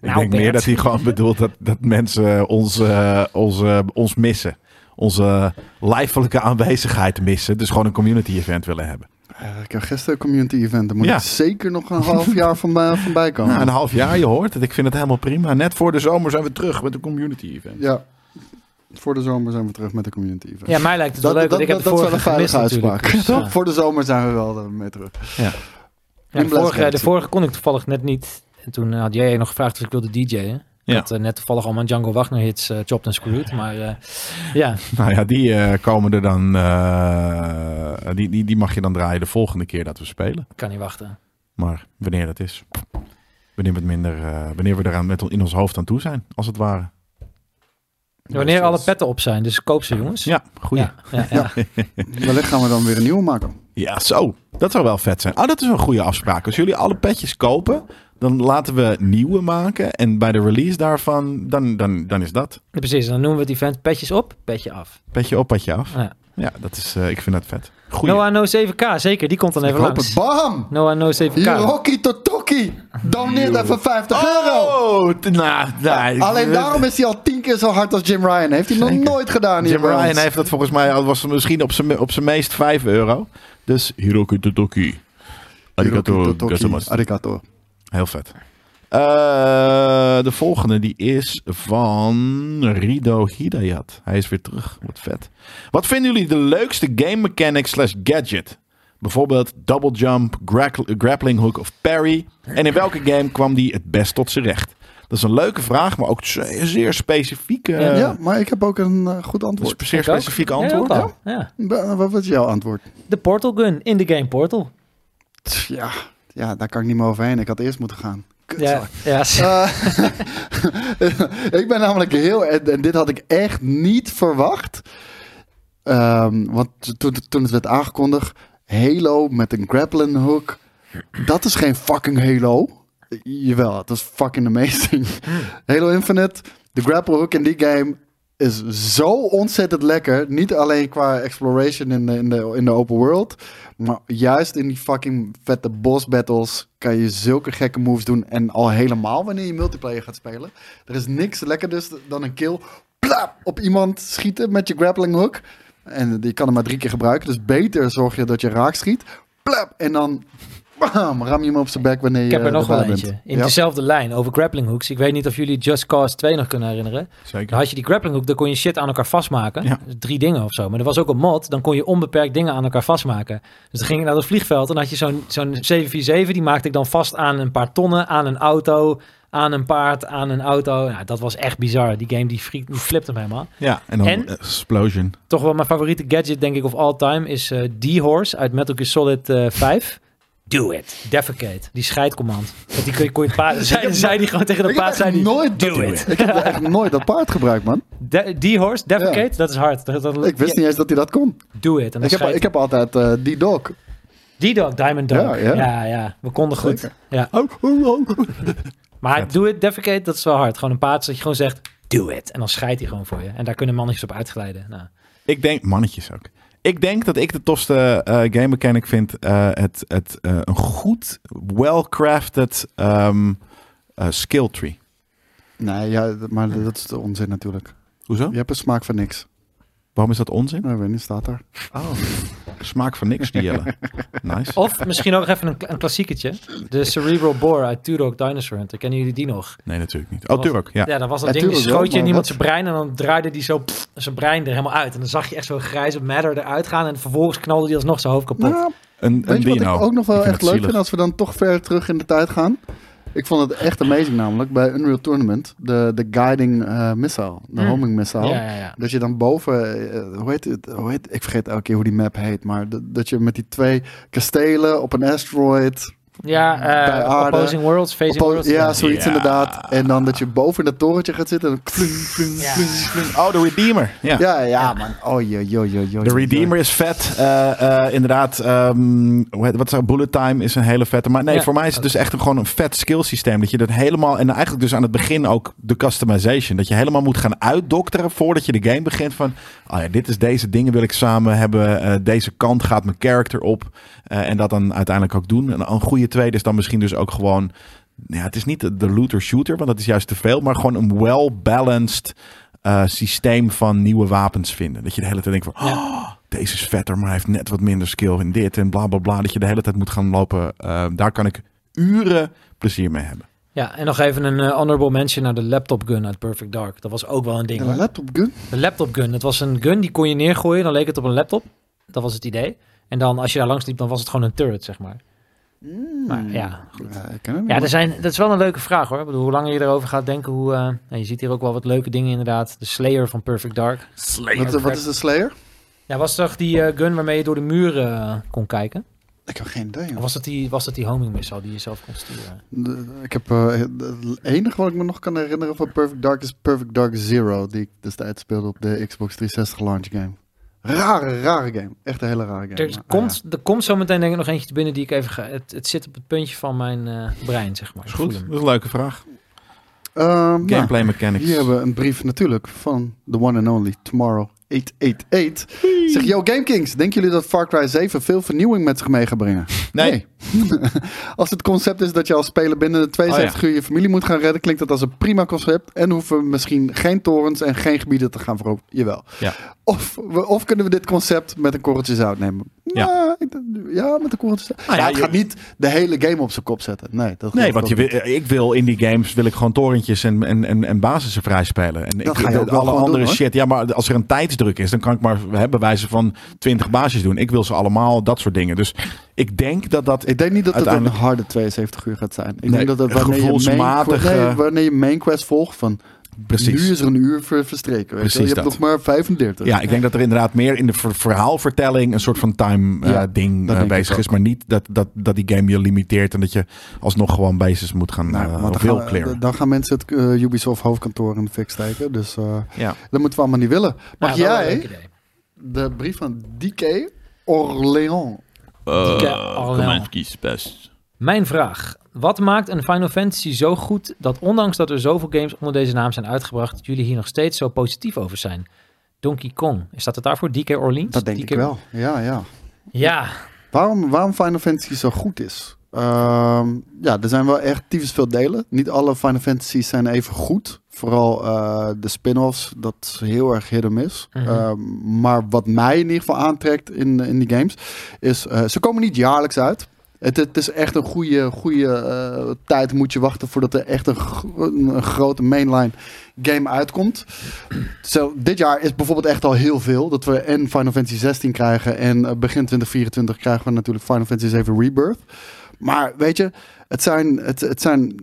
S2: Nou,
S3: denk meer
S2: Bert.
S3: dat hij gewoon bedoelt dat, dat mensen ons, eh, ons, eh, ons missen. Onze lijfelijke aanwezigheid missen. Dus gewoon een community event willen hebben.
S1: Eh, ik heb gisteren een community event. Daar moet
S3: Ja.
S1: ik zeker nog een half jaar van, bij- van bij komen.
S3: Nou, een half jaar, je hoort het. Ik vind het helemaal prima. Net voor de zomer zijn we terug met een community event.
S1: Ja. Voor de zomer zijn we terug met de community event.
S2: Ja, mij lijkt het wel
S1: Dat,
S2: leuk.
S1: dat,
S2: want ik
S1: dat,
S2: heb de
S1: dat is wel
S2: vorige
S1: een veilige
S2: gemist
S1: uitspraak.
S2: natuurlijk. Dus, eh,
S1: Voor de zomer zijn we wel eh, mee terug.
S2: ja, de,
S1: In Blast
S2: vorige, de
S1: Galaxy.
S2: vorige kon ik toevallig net niet. En toen had jij nog gevraagd of ik wilde DJ'en.
S3: Ja.
S2: Ik had eh, net toevallig allemaal Django Wagner hits eh, chopped en screwed. Maar eh, ja,
S3: Nou ja, die eh, komen er dan. eh, die, die, die mag je dan draaien de volgende keer dat we spelen.
S2: ik kan niet wachten.
S3: Maar wanneer dat is. Wanneer we, het minder, eh, wanneer we eraan met, on- in ons hoofd aan toe zijn, als het ware.
S2: Wanneer alle petten op zijn, dus koop ze jongens.
S3: Ja, goeie.
S2: ja, ja, ja.
S1: Wellicht gaan we dan weer een nieuwe maken.
S3: Ja, zo. Dat zou wel vet zijn. Oh, dat is een goede afspraak. Als jullie alle petjes kopen, dan laten we nieuwe maken. En bij de release daarvan, dan, dan, dan is dat.
S2: Ja, Precies, dan noemen we het event petjes op, petje af.
S3: Petje op, petje af.
S2: Ja.
S3: Ja, dat is, eh, ik vind dat vet. Goeie.
S1: Nou,
S2: Noah No 7K, zeker, die komt dan even
S1: Ik hoop het.
S2: langs.
S1: Bam!
S2: Noah No 7K.
S1: Hiroki Totoki! Doneert even 50 eh, euro!
S3: Oh, t- nou, nou,
S1: Alleen
S3: eh,
S1: daarom is hij al tien keer zo hard als Jim Ryan. Heeft hij nog
S3: Zeker.
S1: nooit gedaan hier
S3: Jim
S1: bij ons.
S3: Ryan heeft dat volgens mij, al was het misschien op zijn, op zijn meest 5 euro. Dus Hiroki Totoki.
S1: Hiroki
S3: Arigato
S1: Totoki,
S3: gozaimasu.
S1: Arigato.
S3: Heel vet. Eh, de volgende die is van Rido Hidayat. Hij is weer terug. Wat vet. Wat vinden jullie de leukste game mechanic slash gadget? Bijvoorbeeld double jump, grak- grappling hook of parry. En in welke game kwam die het best tot zijn recht? Dat is een leuke vraag, maar ook zeer, zeer specifieke. eh,
S1: ja, maar ik heb ook een eh, goed
S3: een
S1: antwoord.
S3: zeer
S2: Ik ook.
S3: specifiek
S2: Ja,
S3: antwoord.
S2: ook al. Ja.
S3: Dus-
S1: Ba- Wat is jouw antwoord?
S2: De Portal Gun in de game Portal.
S1: Tch, Ja, ja, daar kan ik niet meer overheen. Ik had eerst moeten gaan.
S2: Ja,
S1: Kutzak.
S2: ja,
S1: Eh, ik ben namelijk heel... En, en dit had ik echt niet verwacht. Ehm, want toen, toen het werd aangekondigd... Halo met een grappling hook. Dat is geen fucking Halo. Jawel, het is fucking amazing. Halo Infinite, de grapple hook in die game is zo ontzettend lekker. Niet alleen qua exploration in de, in de, in de open world, maar juist in die fucking vette boss battles kan je zulke gekke moves doen. En al helemaal wanneer je multiplayer gaat spelen. Er is niks lekkerder dan een kill. Plap, op iemand schieten met je grappling hook. En die kan hem maar drie keer gebruiken. Dus beter zorg je dat je raak schiet. Plap, en dan bam, ram je hem op zijn bek wanneer je
S2: ik heb er nog wel
S1: erbij
S2: eentje.
S1: bent.
S2: In
S1: Ja.
S2: dezelfde lijn, over grappling hooks. Ik weet niet of jullie Just Cause 2 nog kunnen herinneren. Dan
S3: Zeker.
S2: had je die grappling hook, dan kon je shit aan elkaar vastmaken.
S3: Ja.
S2: Drie dingen of zo. Maar er was ook een mod, dan kon je onbeperkt dingen aan elkaar vastmaken. Dus dan ging je naar het vliegveld en dan had je zo'n zo'n 747, die maakte ik dan vast aan een paar tonnen, aan een auto, aan een paard, aan een auto. Nou, dat was echt bizar. Die game die, freak, die flipte me helemaal.
S3: Ja, en dan
S2: En?
S3: Explosion.
S2: Toch wel mijn favoriete gadget, denk ik, of all time is eh D-Horse uit Metal Gear Solid eh 5. Do it. Defecate. Die scheidcommand. Want die kon je, kon je het paard... zei, zei die gewoon tegen de
S1: Ik heb
S2: paard, zei
S1: echt
S2: die...
S1: nooit
S2: Do
S1: dat-
S2: it.
S1: Ik heb echt nooit dat paard gebruikt, man.
S2: De- D-Horse, defecate, dat is hard. Dat, dat-
S1: Ik wist
S2: ja,
S1: niet eens dat hij dat kon.
S2: Do it. En dan
S1: Ik heb,
S2: scheidt-
S1: ik heb altijd eh, die dog.
S2: D-Dog, Diamond Dog. Ja,
S1: Ja,
S2: ja.
S1: ja.
S2: we konden goed.
S1: Zeker. Oh,
S2: Ja. Maar doe het, defecate, dat is wel hard. Gewoon een paard dat je gewoon zegt, do it. En dan scheidt hij gewoon voor je. En daar kunnen mannetjes op uitglijden. Nou,
S3: Ik denk, mannetjes ook. Ik denk dat ik de tofste eh, game mechanic vind. eh, het, het, eh, een goed, well-crafted ehm, eh, skill tree.
S1: Nee, ja, d- maar dat is de onzin natuurlijk.
S3: Hoezo?
S1: Je hebt een smaak van niks.
S3: Waarom is dat onzin?
S1: Nou, weet niet, staat er.
S3: Oh. Smaak van niks, die Jelle.
S1: Oh.
S3: Nice.
S2: Of misschien ook nog even een, een klassieketje. De Cerebral Bore uit Turok Dinosaur Hunter. Kennen jullie die nog?
S3: Nee, natuurlijk niet. Oh, Turok. Ja.
S2: Ja, dat was dat
S1: Ja,
S2: ding. Die
S1: Turok
S2: schoot
S1: wel,
S2: je
S1: maar
S2: in iemand
S1: wat-
S2: zijn brein en dan draaide die zo pff, zijn brein er helemaal uit. En dan zag je echt zo'n grijze matter eruit gaan. En vervolgens knalde die alsnog zijn hoofd kapot.
S1: Nou,
S3: Een, een
S1: weet je wat ik
S3: dino.
S1: ook nog wel
S3: Ik vind
S1: echt leuk
S3: het zielig.
S1: vind als we dan toch ver terug in de tijd gaan? Ik vond het echt amazing namelijk bij Unreal Tournament. De, de guiding eh, missile, de
S2: Hmm.
S1: homing missile.
S2: ja, ja, ja.
S1: Dat je dan boven, eh, hoe heet het? Hoe heet, ik vergeet elke keer hoe die map heet, maar dat- dat je met die twee kastelen op een asteroid
S2: Ja, eh,
S1: Bij aarde.
S2: Opposing Worlds, Facing
S1: Op-
S2: Worlds.
S1: ja, zoiets
S3: Ja.
S1: inderdaad. En dan dat je boven in dat torentje gaat zitten. En dan kling, kling,
S2: Ja.
S1: kling.
S3: Oh, de Redeemer. Ja.
S1: Ja, ja, man. Oh, joh, joh, joh, joh.
S3: De Redeemer is vet. Eh, eh, inderdaad, ehm, hoe heet- wat zou Bullet Time is een hele vette. Maar nee,
S2: Ja.
S3: voor mij is het dus echt een, gewoon een vet skill systeem. Dat je dat helemaal, en eigenlijk dus aan het begin ook de customization. Dat je helemaal moet gaan uitdokteren voordat je de game begint. Van, ah ja, dit is deze dingen wil ik samen hebben. Eh, deze kant gaat mijn character op. Eh, en dat dan uiteindelijk ook doen. En een goede tweede is dan misschien dus ook gewoon ja, het is niet de- de looter-shooter, want dat is juist te veel. Maar gewoon een well-balanced eh, systeem van nieuwe wapens vinden. Dat je de hele tijd denkt van,
S2: Ja.
S3: "Oh, deze is vetter, maar hij heeft net wat minder skill in dit. En bla bla bla, dat je de hele tijd moet gaan lopen. Eh, daar kan ik uren plezier mee hebben.
S2: Ja, en nog even een eh, honorable mention naar de laptop gun uit Perfect Dark. Dat was ook wel een ding.
S1: Een
S2: hoor.
S1: laptop gun?
S2: De laptop gun. Dat was een gun die kon je neergooien. Dan leek het op een laptop. Dat was het idee. En dan als je daar langs liep, dan was het gewoon een turret, zeg maar.
S1: Hmm.
S2: Maar ja,
S1: Ja, ik ken hem
S2: Ja,
S1: niet.
S2: er zijn, dat is wel een leuke vraag hoor. Ik bedoel, hoe langer je erover gaat denken, hoe. eh, nou, je ziet hier ook wel wat leuke dingen inderdaad. De Slayer van Perfect Dark.
S1: wat, wat is de Slayer?
S2: Ja, was toch die eh, gun waarmee je door de muren eh, kon kijken?
S1: Ik heb geen idee.
S2: Of
S1: joh.
S2: was dat die, was dat die homing missile die je zelf kon sturen?
S1: De- ik heb, eh, het enige wat ik me nog kan herinneren van Perfect Dark is Perfect Dark Zero, die ik destijds speelde op de Xbox 360 launch game. Rare, rare game. Echt een hele rare game.
S2: Er,
S1: Maar, ah,
S2: komt, er komt zo meteen denk ik nog eentje te binnen die ik even ga. Het, het zit op het puntje van mijn eh, brein, zeg maar.
S3: Is
S2: Ik
S3: goed,
S2: voel
S3: dat
S2: hem.
S3: is een leuke vraag.
S1: ja. Ehm, nou,
S3: Gameplay mechanics.
S1: Hier hebben we een brief natuurlijk van de one and only Tomorrow 888. Zeg, yo Gamekings, denken jullie dat Far Cry 7 veel vernieuwing met zich mee gaat brengen?
S3: Nee.
S1: als het concept is dat je als speler binnen de
S3: Oh,
S1: 72 uur je familie moet gaan redden, klinkt dat als een prima concept. En hoeven we misschien geen torens en geen gebieden te gaan veroveren. Jawel.
S3: Ja.
S1: Of, we, of kunnen we dit concept met een korreltje zout nemen?
S3: Ja. Nou
S1: Nou, ik denk- ja, met een korreltje zout. Maar
S3: ja,
S1: het
S3: je-
S1: gaat niet de hele game op zijn kop zetten. Nee, dat
S3: Nee,
S1: geloof
S3: want
S1: ik
S3: je
S1: ook
S3: wil, ik wil in die games wil ik gewoon torentjes en, en, en, en basissen vrijspelen. En ik,
S1: ga je ook wel
S3: alle
S1: gewoon
S3: andere
S1: doen, hoor.
S3: shit. Ja, maar als er een tijdsdruk is, dan kan ik maar hè, bij wijze van 20 basis doen. Ik wil ze allemaal, dat soort dingen. Dus ik denk dat dat.
S1: Ik denk niet dat het een
S3: Uiteindelijk-
S1: harde 72 uur gaat zijn. Ik
S3: Nee,
S1: denk dat het
S3: een
S1: wanneer je, main,
S3: gevoelsmatige-
S1: nee, wanneer je main quest volgt van
S3: precies.
S1: nu is er een uur ver, verstreken. Weet je wel.
S3: Precies
S1: je hebt
S3: dat.
S1: nog maar 35.
S3: Ja, ik denk dat er inderdaad meer in de ver- verhaalvertelling een soort van
S1: Ja,
S3: time-ding
S1: dat denk ik
S3: eh, bezig
S1: ook.
S3: is. Maar niet dat, dat, dat die game je limiteert en dat je alsnog gewoon basis moet gaan
S1: Nou,
S3: eh,
S1: want
S3: of
S1: dan,
S3: wil
S1: gaan,
S3: clearen.
S1: d- dan gaan mensen het eh, Ubisoft hoofdkantoor in de fik steken. Dus eh,
S3: Ja.
S1: dat moeten we allemaal niet willen. Mag
S2: Ja, Nou, wel een leuk
S1: jij
S2: idee.
S1: de brief van DK Orléans?
S5: Eh,
S2: Dikke Arnel.
S5: kom even kiezen, best.
S2: Mijn vraag. Wat maakt een Final Fantasy zo goed dat ondanks dat er zoveel games onder deze naam zijn uitgebracht, jullie hier nog steeds zo positief over zijn? Donkey Kong, is dat het daarvoor? DK Orleans?
S1: Dat denk
S2: DK
S1: ik wel. Ja, ja.
S2: Ja,
S1: Waarom, waarom Final Fantasy zo goed is? Ehm, ja, er zijn wel echt tyfus veel delen. Niet alle Final Fantasies zijn even goed. Vooral eh, de spin-offs, dat is heel erg hit or miss.
S2: Mhm.
S1: Ehm, maar wat mij in ieder geval aantrekt in, in die games, is eh, ze komen niet jaarlijks uit. Het, het is echt een goede, goede eh, tijd moet je wachten voordat er echt een, gro- een, een grote mainline game uitkomt. Zo, dit jaar is bijvoorbeeld echt al heel veel. Dat we en Final Fantasy 16 krijgen en eh, begin 2024 krijgen we natuurlijk Final Fantasy 7 Rebirth. Maar weet je, het zijn, het, het zijn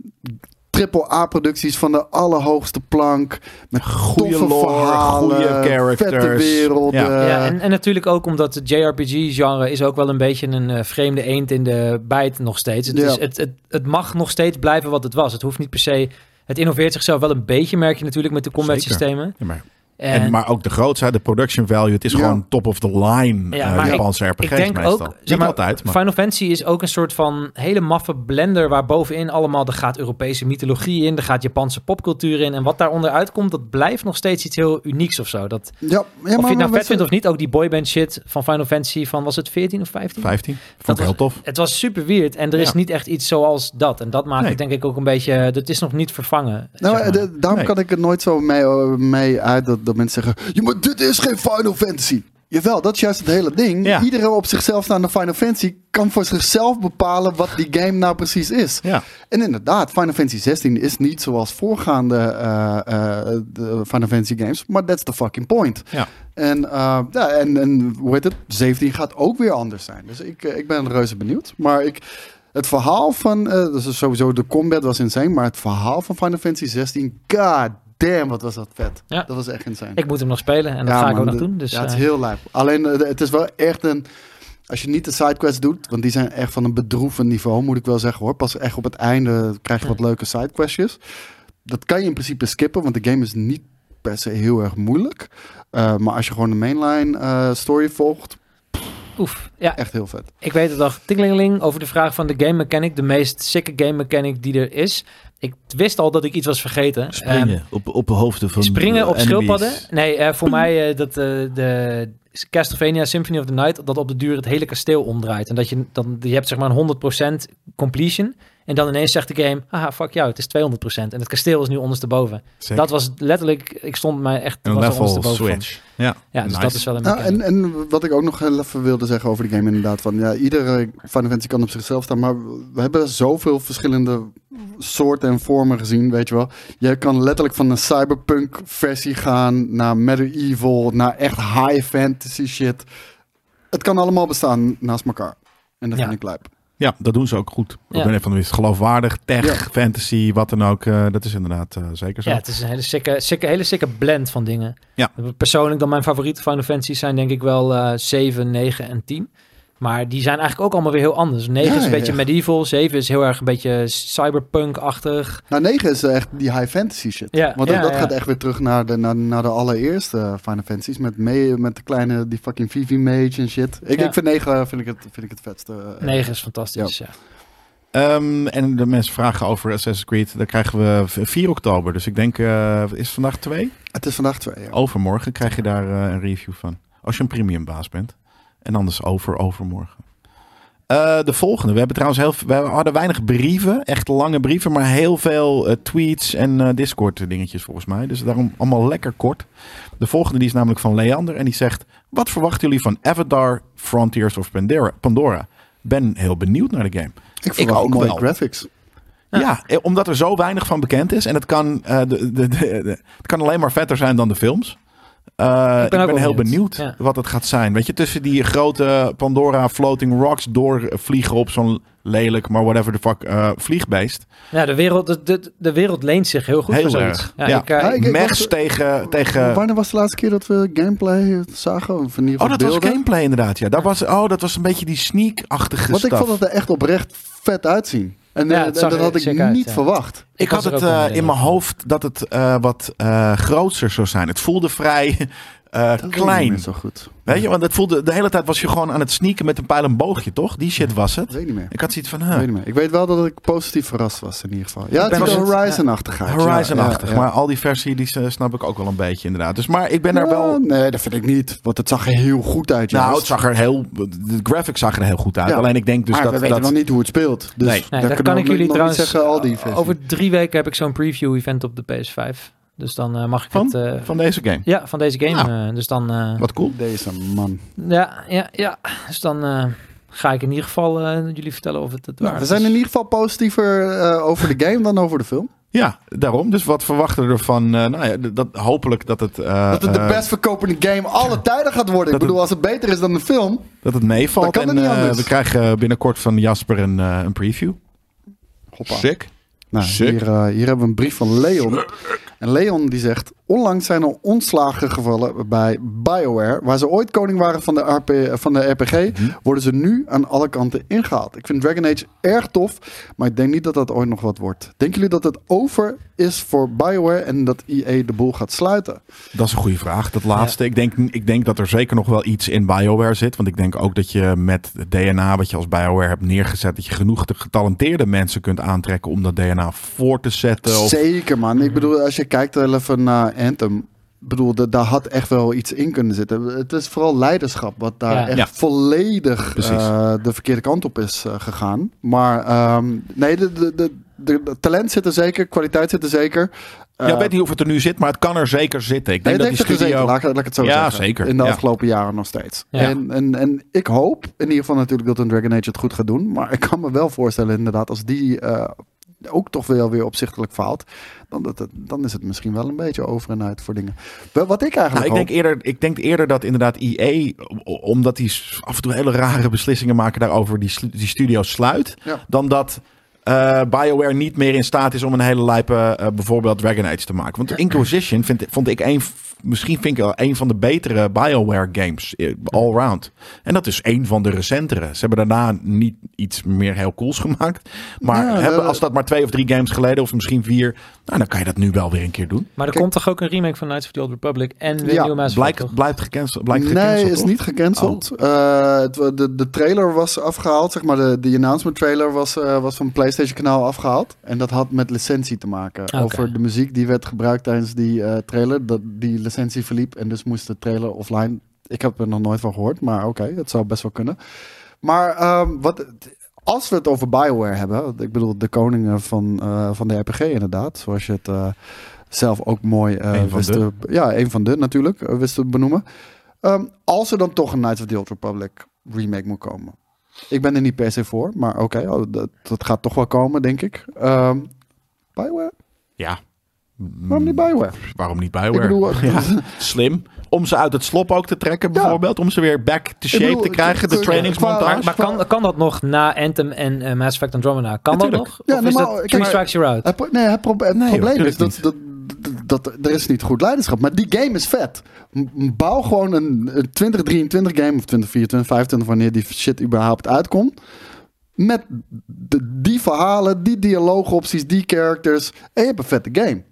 S1: AAA-producties van de allerhoogste plank. Met
S3: Goeie
S1: toffe
S3: lore,
S1: verhalen,
S3: goeie
S1: vette
S3: characters.
S1: werelden.
S3: Ja.
S2: ja en, en natuurlijk ook omdat het JRPG-genre is ook wel een beetje een eh, vreemde eend in de bijt nog steeds. Het,
S1: Ja.
S2: is, het, het, het mag nog steeds blijven wat het was. Het hoeft niet per se... Het innoveert zichzelf wel een beetje, merk je natuurlijk, met de
S3: Zeker.
S2: combat-systemen.
S3: Ja, maar,
S2: En,
S3: en, maar ook de grootsheid, de production value. Het is
S1: Ja.
S3: gewoon top of the line
S2: Ja,
S3: eh,
S2: maar ik-
S3: Japanse RPG's
S2: ik denk
S3: meestal.
S2: ook...
S3: niet
S2: Zeg maar,
S3: altijd, maar...
S2: Final Fantasy is ook een soort van hele maffe blender... waar bovenin allemaal, er gaat Europese mythologie in... er gaat Japanse popcultuur in. En wat daaronder uitkomt, dat blijft nog steeds iets heel unieks of zo. Dat,
S1: Ja, ja, maar,
S2: of je het
S1: maar
S2: nou vet
S1: weet
S2: vindt of niet, ook die boyband shit van Final Fantasy... van was het 14 of 15?
S3: 15. Vond
S2: Dat
S3: ik heel tof.
S2: Het was super weird en er is
S3: Ja.
S2: niet echt iets zoals dat. En dat maakt
S3: Nee.
S2: het denk ik ook een beetje... Dat is nog niet vervangen.
S1: Nou,
S2: zeg maar.
S1: eh, de- daarom
S3: Nee.
S1: kan ik het nooit zo mee, eh, mee uit dat, dat mensen zeggen: Ja, maar dit is geen Final Fantasy. Jawel, dat is juist het hele ding.
S3: Ja.
S1: Iedere op zichzelf staande Final Fantasy kan voor zichzelf bepalen wat die game nou precies is.
S3: Ja.
S1: En inderdaad, Final Fantasy 16 is niet zoals voorgaande eh, eh, de Final Fantasy games, maar that's the fucking point.
S3: Ja.
S1: En, eh, ja, en, en hoe heet het? 17 gaat ook weer anders zijn. Dus ik, eh, ik ben reuze benieuwd. Maar ik, het verhaal van. eh, dus sowieso de combat was insane. Maar het verhaal van Final Fantasy 16. God damn, wat was dat vet.
S2: Ja.
S1: Dat was echt insane.
S2: Ik moet hem nog spelen en dat
S1: Ja,
S2: ga ik
S1: man,
S2: ook nog
S1: de-
S2: doen. Dus,
S1: ja, het is
S2: eh,
S1: heel lijp. Alleen eh, het is wel echt een. Als je niet de sidequests doet, want die zijn echt van een bedroevend niveau, moet ik wel zeggen hoor. Pas echt op het einde krijg je wat leuke sidequestjes. Dat kan je in principe skippen, want de game is niet per se heel erg moeilijk. Eh, maar als je gewoon de mainline eh, story volgt,
S2: oef. Ja,
S1: echt heel vet.
S2: ik weet het nog. Tingelingeling over de vraag van de game mechanic. De meest sicke game mechanic die er is. Ik wist al dat ik iets was vergeten. eh,
S5: Springen op, op de hoofden
S2: Ehm,
S5: van
S2: springen op
S5: enemies.
S2: schildpadden. Nee, eh, voor mij eh, dat eh, de Castlevania Symphony of the Night... dat op de duur het hele kasteel omdraait. En dat je, dan, je hebt zeg maar een 100% completion... En En dan ineens zegt de game, haha, fuck jou, het is 200%. En het kasteel is nu ondersteboven.
S3: Zeker.
S2: Dat was letterlijk, ik stond mij echt
S3: een
S2: was er
S3: level
S2: ondersteboven van.
S3: switch. Ja,
S2: Ja, dus
S3: Nice.
S2: dat is wel een
S1: Nou,
S2: bekende.
S1: en, en wat ik ook nog heel even wilde zeggen over die game inderdaad. Van, ja, iedere Final Fantasy kan op zichzelf staan. Maar we hebben zoveel verschillende soorten en vormen gezien, weet je wel. Je kan letterlijk van een cyberpunk versie gaan... naar medieval, naar echt high fantasy shit. Het kan allemaal bestaan naast elkaar. En dat
S2: Ja.
S1: vind ik lijp.
S3: ja, dat doen ze ook goed. Ik
S2: Ja.
S3: ben even van de wist. Geloofwaardig, tech,
S1: Ja.
S3: fantasy, wat dan ook. eh, dat is inderdaad eh, zeker zo.
S2: Ja, het is een hele sikke, sikke, hele sikke blend van dingen.
S3: Ja.
S2: Persoonlijk dan mijn favoriete Final Fantasy's zijn denk ik wel eh 7, 9 en 10. Maar die zijn eigenlijk ook allemaal weer heel anders. 9
S1: Ja,
S2: is een
S1: ja,
S2: beetje
S1: ja.
S2: medieval, 7 is heel erg een beetje cyberpunk-achtig.
S1: Nou, 9 is eh, echt die high fantasy shit.
S2: Ja,
S1: Want
S2: ja,
S1: ook dat
S2: ja.
S1: gaat echt weer terug naar de, naar, naar de allereerste Final Fantasies. Met, mee, met de kleine, die fucking Vivi Mage en shit. Ik,
S2: Ja.
S1: ik vind 9 vind ik het, vind ik het vetste. eh,
S2: 9 is fantastisch, ja.
S3: Ehm, en de mensen vragen over Assassin's Creed. Daar krijgen we v- 4 oktober. Dus ik denk, eh, is het vandaag 2?
S1: Het is vandaag twee.
S3: Oh,
S1: Ja.
S3: Overmorgen krijg je daar eh, een review van. Als je een premium baas bent. En anders over, overmorgen. Eh, de volgende. We hebben trouwens heel, v- we hadden weinig brieven. Echt lange brieven. Maar heel veel eh, tweets en eh, Discord dingetjes volgens mij. Dus daarom allemaal lekker kort. De volgende die is namelijk van Leander. En die zegt. Wat verwachten jullie van Avatar Frontiers of Pandora? Pandora? Ben heel benieuwd naar de game.
S1: Ik verwacht
S3: ook
S1: mooie
S3: wel.
S1: graphics.
S3: Ja, eh, omdat er zo weinig van bekend is. En het kan, eh, de, de, de- de- het kan alleen maar vetter zijn dan de films. Eh, ik ben,
S2: ook wel
S3: heel benieuwd,
S2: benieuwd. Ja.
S3: wat het gaat zijn. Weet je, tussen die grote Pandora floating rocks doorvliegen op zo'n lelijk, maar whatever the fuck, eh, vliegbeest.
S2: Ja, de wereld, de, de, de wereld leent zich heel goed
S3: Heel
S2: voor zoiets.
S3: erg,
S2: Ja,
S3: ja.
S2: Ik, eh,
S1: Ja, ik-
S3: Mechs
S1: was-
S3: tegen... tegen
S1: Wanneer was de laatste keer dat we gameplay zagen? Of in ieder geval
S3: oh, dat was
S1: beelden?
S3: gameplay inderdaad, ja. Daar was, oh, dat was een beetje die sneak-achtige
S1: Want ik
S3: stuff.
S1: vond het er echt oprecht vet uitzien. En,
S2: Ja,
S1: eh,
S2: het
S1: en
S2: zag
S1: dat
S2: er
S1: had ik
S2: sick uit,
S1: niet
S2: ja.
S1: verwacht.
S3: Ik had
S2: was er
S3: het
S2: ook
S3: eh,
S2: al mee
S3: in mijn
S2: bezig.
S3: hoofd dat het eh, wat eh grootser zou zijn. Het voelde vrij eh,
S1: Dat weet ik niet
S3: klein.
S1: meer zo goed.
S3: Weet je, want het voelde, de hele tijd was je gewoon aan het sneaken met een pijl en boogje, toch? Die shit was
S1: Dat
S3: het.
S1: weet ik niet meer.
S3: Ik had zoiets van,
S1: Ik
S3: huh,
S1: weet, niet meer. ik weet wel dat ik positief verrast was in ieder geval. Ja, het
S2: ben
S1: ziet
S2: wel-
S1: er Horizon-achtig uit.
S3: Horizon-achtig.
S1: Ja, ja, ja.
S3: Maar al die versie, die eh, snap ik ook wel een beetje inderdaad. Dus, maar ik ben daar
S1: Nou,
S3: wel...
S1: Nee, dat vind ik niet. Want het zag er heel goed uit.
S3: Nou,
S1: juist.
S3: het zag er heel... De graphics zag er heel goed uit.
S1: Ja.
S3: Alleen ik denk dus
S1: maar
S3: dat...
S1: we weten
S3: dat
S1: nog niet hoe het speelt. Dus
S3: Nee. Nee,
S2: Nee,
S1: daar
S2: dat
S1: kunnen
S2: kan
S1: we
S2: ik
S1: nog
S2: jullie
S1: niet
S2: trouwens. eh,
S1: zeggen, al die versies.
S2: over drie weken heb ik zo'n preview-event op de PS5. Dus dan eh, mag ik
S3: Van?
S2: het. eh,
S3: Van deze game.
S2: Ja, van deze game. eh, dus dan. eh,
S3: Wat cool.
S1: Deze man.
S2: Ja, ja, ja. Dus dan eh, ga ik in ieder geval eh, jullie vertellen of het het
S1: Nou,
S2: waar
S1: we
S2: is.
S1: zijn in ieder geval positiever eh, over de game dan over de film.
S3: Ja, daarom. Dus wat verwachten we ervan? eh, nou ja, d- dat, hopelijk dat het... eh,
S1: dat het de
S3: eh,
S1: best verkopende game alle tijden gaat worden. Ik
S3: dat het-
S1: bedoel, als het beter is dan de film.
S3: dat het meevalt.
S1: Dat kan
S3: en
S1: er niet
S3: eh,
S1: anders.
S3: we krijgen binnenkort van Jasper een, eh, een preview.
S1: Hoppa.
S5: Sick.
S1: Nou,
S5: Sick.
S1: Hier, eh, hier hebben we een brief van Leon. En Leon die zegt... Onlangs zijn er ontslagen gevallen bij BioWare. Waar ze ooit koning waren van de, RP, van de RPG...
S5: Mhm.
S1: worden ze nu aan alle kanten ingehaald. Ik vind Dragon Age erg tof... maar ik denk niet dat dat ooit nog wat wordt. Denken jullie dat het over is voor BioWare... en dat EA de boel gaat sluiten?
S3: Dat is een goede vraag. Dat laatste. Ik, denk, ik denk dat er zeker nog wel iets in BioWare zit. Want ik denk ook dat je met het DNA wat je als BioWare hebt neergezet, dat je genoeg te- getalenteerde mensen kunt aantrekken om dat DNA voor te zetten. eh, Of, Mhm.
S1: Zeker, man. Ik bedoel, als je kijkt wel even naar Anthem. Ik bedoel, da- daar had echt wel iets in kunnen zitten. Het is vooral leiderschap wat daar
S2: Ja.
S1: echt
S3: Ja.
S1: volledig
S3: Precies.
S1: eh, de verkeerde kant op is eh, gegaan. Maar ehm, nee, de, de, de, de- de talent zit er zeker, kwaliteit zit er zeker. Eh,
S3: ja, ik weet niet of het er nu zit, maar het kan er zeker zitten. Ik
S1: nee,
S3: denk
S1: het
S3: dat die
S1: heeft er gezeten,
S3: studio.
S1: laat, ik- laat ik het zo
S3: Ja,
S1: zeggen.
S3: zeker.
S1: In de
S3: Ja.
S1: afgelopen jaren nog steeds.
S2: Ja.
S1: En, en, en ik hoop in ieder geval natuurlijk dat een Dragon Age het goed gaat doen. Maar ik kan me wel voorstellen inderdaad als die eh, ook toch wel weer opzichtelijk faalt. Dan, dat, het- dan is het misschien wel een beetje over en uit voor dingen. Wel, Wat ik
S3: Nou,
S1: eigenlijk
S3: ik, denk
S1: hoop-
S3: eerder, ik denk eerder dat inderdaad IE, omdat die s- af en toe hele rare beslissingen maken daarover, die, slu- die studio sluit.
S1: Ja.
S3: Dan dat eh, BioWare niet meer in staat is om een hele lijpe eh, bijvoorbeeld Dragon Age te maken. Want Inquisition vind, vond ik een, f- misschien vind ik wel een van de betere BioWare games eh, all round. En dat is een van de recentere. Ze hebben daarna niet iets meer heel cools gemaakt. Maar
S1: Ja,
S3: hebben,
S1: dat-
S3: als dat maar twee of drie games geleden, of misschien vier, nou, dan kan je dat nu wel weer een keer doen.
S2: Maar er
S1: Kijk-
S2: komt toch ook een remake van Knights of the Old Republic en weer
S1: Ja,
S2: een nieuwe Mass Effect,
S3: Blijkt,
S2: toch?
S3: blijft gecanceld. Blijkt
S1: nee,
S3: gecanceld,
S1: is
S3: toch? Oh.
S1: niet gecanceld. Eh, het wa- de, de trailer was afgehaald, zeg maar. De, de announcement trailer was, eh, was van PlayStation kanaal afgehaald. En dat had met licentie te maken.
S2: Oké.
S1: Over de muziek die werd gebruikt tijdens die eh, trailer. Dat die licentie verliep en dus moest de trailer offline. Ik heb er nog nooit van gehoord, maar oké, het zou best wel kunnen. Maar ehm, wat, als we het over Bioware hebben, want ik bedoel de koningen van, eh, van de RPG inderdaad, zoals je het eh, zelf ook mooi eh,
S3: Een van
S1: wist
S3: de.
S1: te- ja, een van de natuurlijk, eh, wist te benoemen. Ehm, als er dan toch een Knights of the Old Republic remake moet komen. Ik ben er niet per se voor, maar oké, oh, dat, dat gaat toch wel komen, denk ik. Ehm, Bioware?
S3: Ja.
S1: Waarom niet Bioware?
S3: Waarom niet Hmm. Bioware?
S1: Ik bedoel, eh,
S3: Ja, slim. Om ze uit het slop ook te trekken, bijvoorbeeld. Om ze weer back to shape
S1: bedoel,
S3: te krijgen. De
S1: eh,
S3: trainingsmontage.
S1: qua-
S2: Maar kan, kan dat nog na Anthem en eh, Mass Effect Andromeda? Kan dat
S3: Natuurlijk.
S2: nog?
S1: Ja,
S2: of is
S1: normaal-
S2: dat
S1: kijk, eh,
S2: Three
S1: maar-
S2: Strikes You're Out?
S1: Het, pro- nee, het, proble- het
S3: joh,
S1: probleem is dat,
S3: tuurlijk
S1: dat, dat, dat- er is niet goed leiderschap Maar die game is vet. M- m- Bouw gewoon een, een 2023 game of 2024, 2025, wanneer die shit überhaupt uitkomt. Met de, die verhalen, die dialoogopties, die characters. En je hebt een vette game.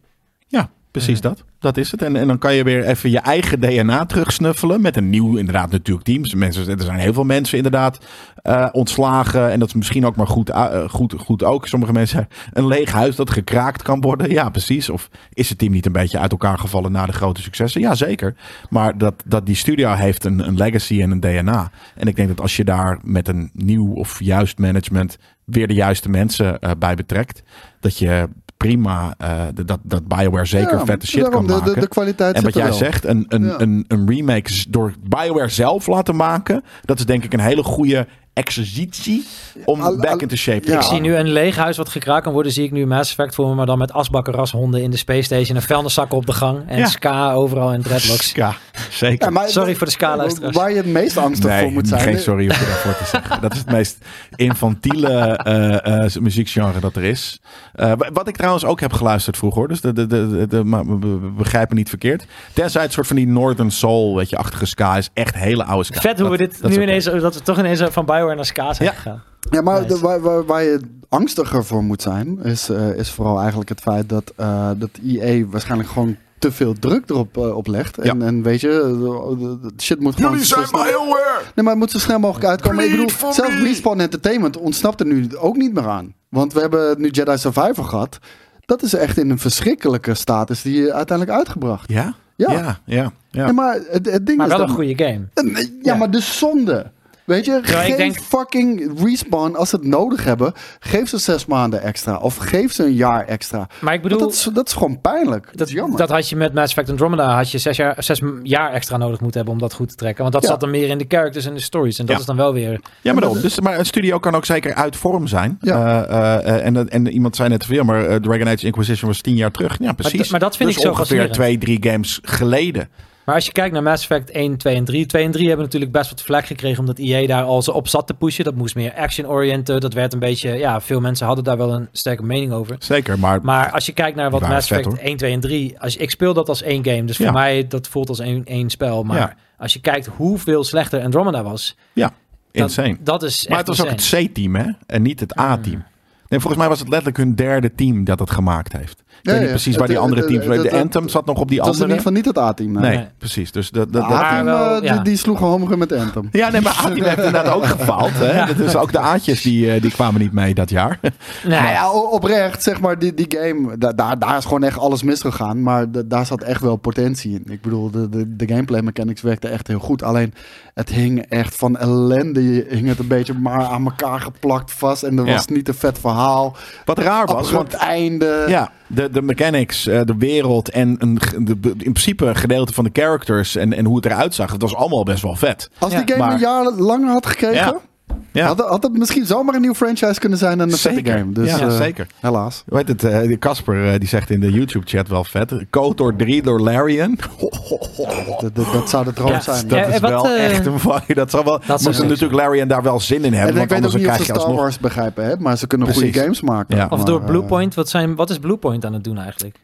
S3: Ja, precies dat. Dat is het. En, en dan kan je weer even je eigen DNA terugsnuffelen. Met een nieuw, inderdaad, natuurlijk team. Dus Mensen, er zijn heel veel mensen inderdaad eh, ontslagen. En dat is misschien ook maar goed, eh, goed, goed ook. Sommige mensen, een leeg huis dat gekraakt kan worden. Ja, precies. Of is het team niet een beetje uit elkaar gevallen na de grote successen? Ja, zeker. Maar dat, dat die studio heeft een, een legacy en een DNA. En ik denk dat als je daar met een nieuw of juist management weer de juiste mensen eh, bij betrekt, dat je prima eh, dat, dat Bioware zeker
S1: Ja,
S3: vette shit
S1: daarom,
S3: kan
S1: de,
S3: maken.
S1: De, de kwaliteit
S3: en wat
S1: zit er
S3: jij
S1: wel.
S3: zegt, een, een,
S1: Ja.
S3: een, een remake z- door Bioware zelf laten maken, dat is denk ik een hele goede exercitie om
S1: al-
S3: back
S1: al-
S3: into shape te
S1: ja.
S2: Ik
S3: komen.
S2: zie nu een leeg huis wat gekraakt kan worden. Zie ik nu Mass Effect voor me, maar dan met asbakken, rashonden in de Space Station. En vuilniszakken op de gang. En
S3: Ja.
S2: ska overal en dreadlocks.
S3: Ja, zeker.
S1: Ja, maar-
S2: Sorry voor de ska-luisteraars.
S1: Waar je het meest angstig voor moet zijn.
S3: geen sorry hoef je daarvoor te zeggen. Dat is het meest infantiele eh, eh, muziekgenre dat er is. Eh, wa- wat ik trouwens ook heb geluisterd vroeger, hoor. Dus de, de, de, de- de- maar we- we- we begrijpen niet verkeerd. Tenzij het soort van die Northern Soul, weet je, achtige ska is. Echt hele oude ska.
S2: Vet hoe we
S3: Dat-
S2: dit
S3: dat
S2: nu
S3: is oké.
S2: ineens, dat we toch ineens van Bioware naar ska zijn
S3: Ja.
S2: gegaan.
S1: Ja, maar
S2: Nice.
S1: de- waar, waar, waar je angstiger voor moet zijn, is, eh, is vooral eigenlijk het feit dat, eh dat EA waarschijnlijk gewoon te veel druk erop eh, op legt.
S3: Ja.
S1: En, en weet je, eh, de- de- de shit moet gewoon... zo snel-
S3: Bioware!
S1: Nee, maar het moet zo snel mogelijk uitkomen. Ik
S3: Bleed
S1: bedoel,
S3: for
S1: zelfs
S3: me.
S1: Respawn Entertainment ontsnapt er nu ook niet meer aan. Want we hebben nu Jedi Survivor gehad. Dat is echt in een verschrikkelijke staat is die eh, uiteindelijk uitgebracht.
S3: Ja?
S1: Ja.
S3: Ja, ja, ja.
S1: Nee, maar het, het ding
S2: Maar
S1: is
S2: wel
S1: dat-
S2: een goede game.
S1: eh, nee, Ja,
S2: Ja.
S1: maar de zonde. Weet je,
S2: Ja, ik
S1: geef
S2: denk-
S1: fucking respawn als ze het nodig hebben. Geef ze zes maanden extra. Of geef ze een jaar extra.
S2: Maar ik
S1: Want
S2: bedoel,
S1: dat, is, dat is gewoon pijnlijk. Dat, is
S2: dat,
S1: jammer.
S2: dat had je met Mass Effect Andromeda had je zes jaar, zes m- jaar extra nodig moeten hebben om dat goed te trekken. Want dat
S1: Ja.
S2: zat dan meer in de characters en de stories. En dat
S3: Ja.
S2: is dan wel weer...
S3: Ja, maar, daarom. dus, maar een studio kan ook zeker uit vorm zijn.
S1: Ja.
S3: Eh, eh, eh, en, dat- en iemand zei net veel, maar eh, Dragon Age Inquisition was tien jaar terug. Ja, precies.
S2: maar dat vind
S3: dus
S2: ik zo
S3: ongeveer
S2: fascinerend.
S3: twee, drie games geleden.
S2: Maar als je kijkt naar Mass Effect 1, 2 en 3. 2 en 3 hebben natuurlijk best wat vlek gekregen omdat EA daar al zo op zat te pushen. Dat moest meer action-oriented. Dat werd een beetje... Ja, veel mensen hadden daar wel een sterke mening over.
S3: Zeker, maar,
S2: Maar als je kijkt naar wat
S3: Die waren
S2: Mass
S3: vet,
S2: Effect 1, 2 en 3... Als, ik speel dat als één game, dus
S3: Ja.
S2: voor mij dat voelt als één, één spel. Maar
S3: Ja.
S2: als je kijkt hoeveel slechter Andromeda was... dan-
S3: insane.
S2: Dat is
S3: maar
S2: echt
S3: het was ook
S2: insane. Mm.
S3: het C-team, hè? En niet het A-team. Nee, volgens mij was het letterlijk hun derde team dat het gemaakt heeft. Ik
S1: Ja,
S3: weet niet
S1: ja.
S3: precies
S1: Het-
S3: waar die
S1: het-
S3: andere
S1: het-
S3: teams...
S1: het-
S3: de
S1: het-
S3: Anthem zat nog op die
S1: Dat is in
S3: andere.
S1: ieder geval niet het A-team.
S3: nee,
S2: Nee. Ah.
S3: precies. Dus dat, dat,
S1: Het
S3: dat-
S1: A-team
S2: Maar wel,
S1: eh, die-
S2: ja.
S1: die sloeg gewoon omhoog met Anthem.
S3: ja, nee, maar A-team heeft inderdaad ook gefaald. Hè? Dus ook de A'tjes die, eh, die kwamen niet mee dat jaar.
S2: Nee.
S1: Nou ja, o- oprecht, zeg maar, die, die game, da- daar, daar is gewoon echt alles misgegaan. Maar da- daar zat echt wel potentie in. Ik bedoel, de, de, de gameplay mechanics werkte echt heel goed. Alleen, het hing echt van ellende. Je Hing het een beetje maar aan elkaar geplakt vast. En er
S3: Ja.
S1: was niet een vet verhaal.
S3: Wat raar was,
S1: Abrupt
S3: want
S1: einde.
S3: Ja, de, de mechanics, eh, de wereld en een, ge- de, de- in principe een gedeelte van de characters en, en hoe het eruit zag. Het was allemaal best wel vet.
S1: Als
S2: Ja.
S1: die game
S3: Maar-
S1: een jaar langer had gekregen,
S3: Ja.
S1: Had, had het misschien zomaar een nieuw franchise kunnen zijn en een vette
S3: Zeker.
S1: game. Dus,
S3: Ja,
S1: eh,
S3: zeker.
S1: Helaas.
S3: Weet het, eh, die Casper eh, die zegt in de YouTube-chat wel vet. KOTOR 3 door Larian.
S1: Dat, dat, dat zou de droom
S2: Ja,
S1: zijn.
S2: ja,
S3: Dat is
S2: eh, wat,
S3: wel
S2: eh,
S3: echt een fucking... Dat zal wel...
S2: zou
S3: moeten
S2: zijn.
S3: natuurlijk Larian daar wel zin in hebben,
S1: en ik
S3: want
S1: weet ook
S3: anders
S1: niet of
S3: krijg
S1: ze
S3: je
S1: Star
S3: alsnog...
S1: Wars begrijpen, hè? maar ze kunnen goede
S3: Precies.
S1: games maken.
S3: Ja.
S2: Of
S1: Maar,
S2: door
S1: eh,
S2: Bluepoint. Wat, zijn, wat is Bluepoint aan het doen eigenlijk?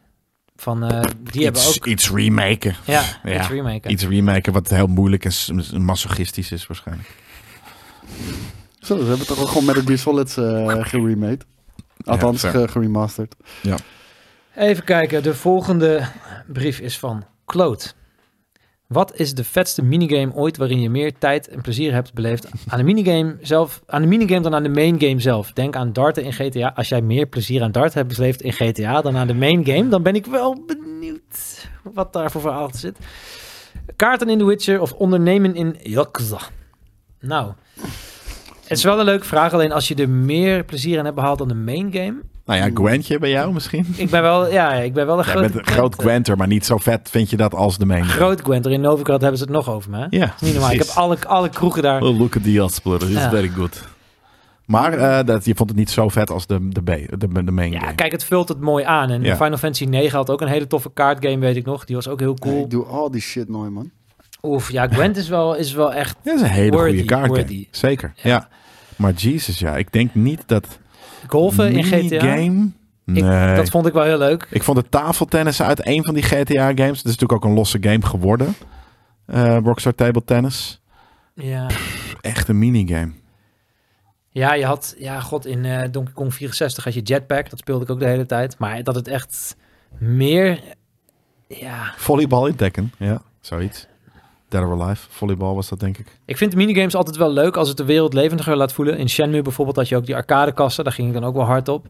S2: Van, eh, die hebben
S3: Iets,
S2: ook...
S3: iets remaken.
S2: Ja,
S3: Ja,
S2: iets remaken.
S3: Iets remaken wat heel moeilijk en s- masochistisch is waarschijnlijk.
S1: Zo, ze hebben toch ook gewoon Metal Gear Solids eh geremade. Althans,
S3: fair.
S1: ge- geremasterd.
S2: Even kijken, de volgende brief is van Kloot. Wat is de vetste minigame ooit waarin je meer tijd en plezier hebt beleefd aan de minigame, zelf, aan de minigame dan aan de main game zelf? Denk aan darten in GTA. Als jij meer plezier aan darten hebt beleefd in GTA dan aan de main game, dan ben ik wel benieuwd wat daar voor verhaal zit. Kaarten in The Witcher of ondernemen in Yakuza. Nou, het Het is wel een leuke vraag, alleen als je er meer plezier aan hebt behaald dan de main game.
S3: Nou ja, Gwentje bij jou misschien.
S2: Ik ben wel, ja, ik ben wel een
S3: Jij
S2: groot,
S3: bent een groot Gwenter, maar niet zo vet vind je dat als de main.
S2: groot Gwenter. In Novigrad hebben ze het nog over me. hè?
S3: Ja,
S2: Dat is niet normaal. Ik heb
S3: precies.
S2: alle, alle kroegen daar.
S5: Oh, look at the Jasper. It's
S2: Ja.
S5: very good.
S3: Maar eh, dat, je vond het niet zo vet als de, de, B- de, de main
S2: Ja,
S3: game.
S2: kijk, het vult het mooi aan. En
S3: Ja.
S2: Final Fantasy 9 had ook een hele toffe kaartgame, weet ik nog. Die was ook heel
S1: Nee,
S2: cool.
S1: ik doe al die shit nooit, man.
S2: Oef, ja, Gwent is wel, is wel echt...
S3: Dat is een hele
S2: Worthy,
S3: goede kaart. game.
S2: worthy.
S3: Zeker,
S2: Ja.
S3: ja. Maar Jesus, ja. Ik denk niet dat...
S2: Golven eh, in GTA.
S3: Game?
S2: Ik-
S3: Nee.
S2: Dat vond ik wel heel leuk.
S3: Ik vond de tafeltennis uit een van die GTA-games. Dat is natuurlijk ook een losse game geworden. Eh, Rockstar Table Tennis.
S2: Ja,
S3: Echt een minigame.
S2: ja je had... Ja, god, in eh, Donkey Kong 64 had je Jetpack. Dat speelde ik ook de hele tijd. Maar dat het echt meer... Ja,
S3: Volleybal in Tekken. Ja, zoiets. Dead or Alive. Volleybal was dat, denk ik.
S2: ik vind minigames altijd wel leuk als het de wereld levendiger laat voelen. In Shenmue bijvoorbeeld had je ook die arcadekassen. Daar ging ik dan ook wel hard op.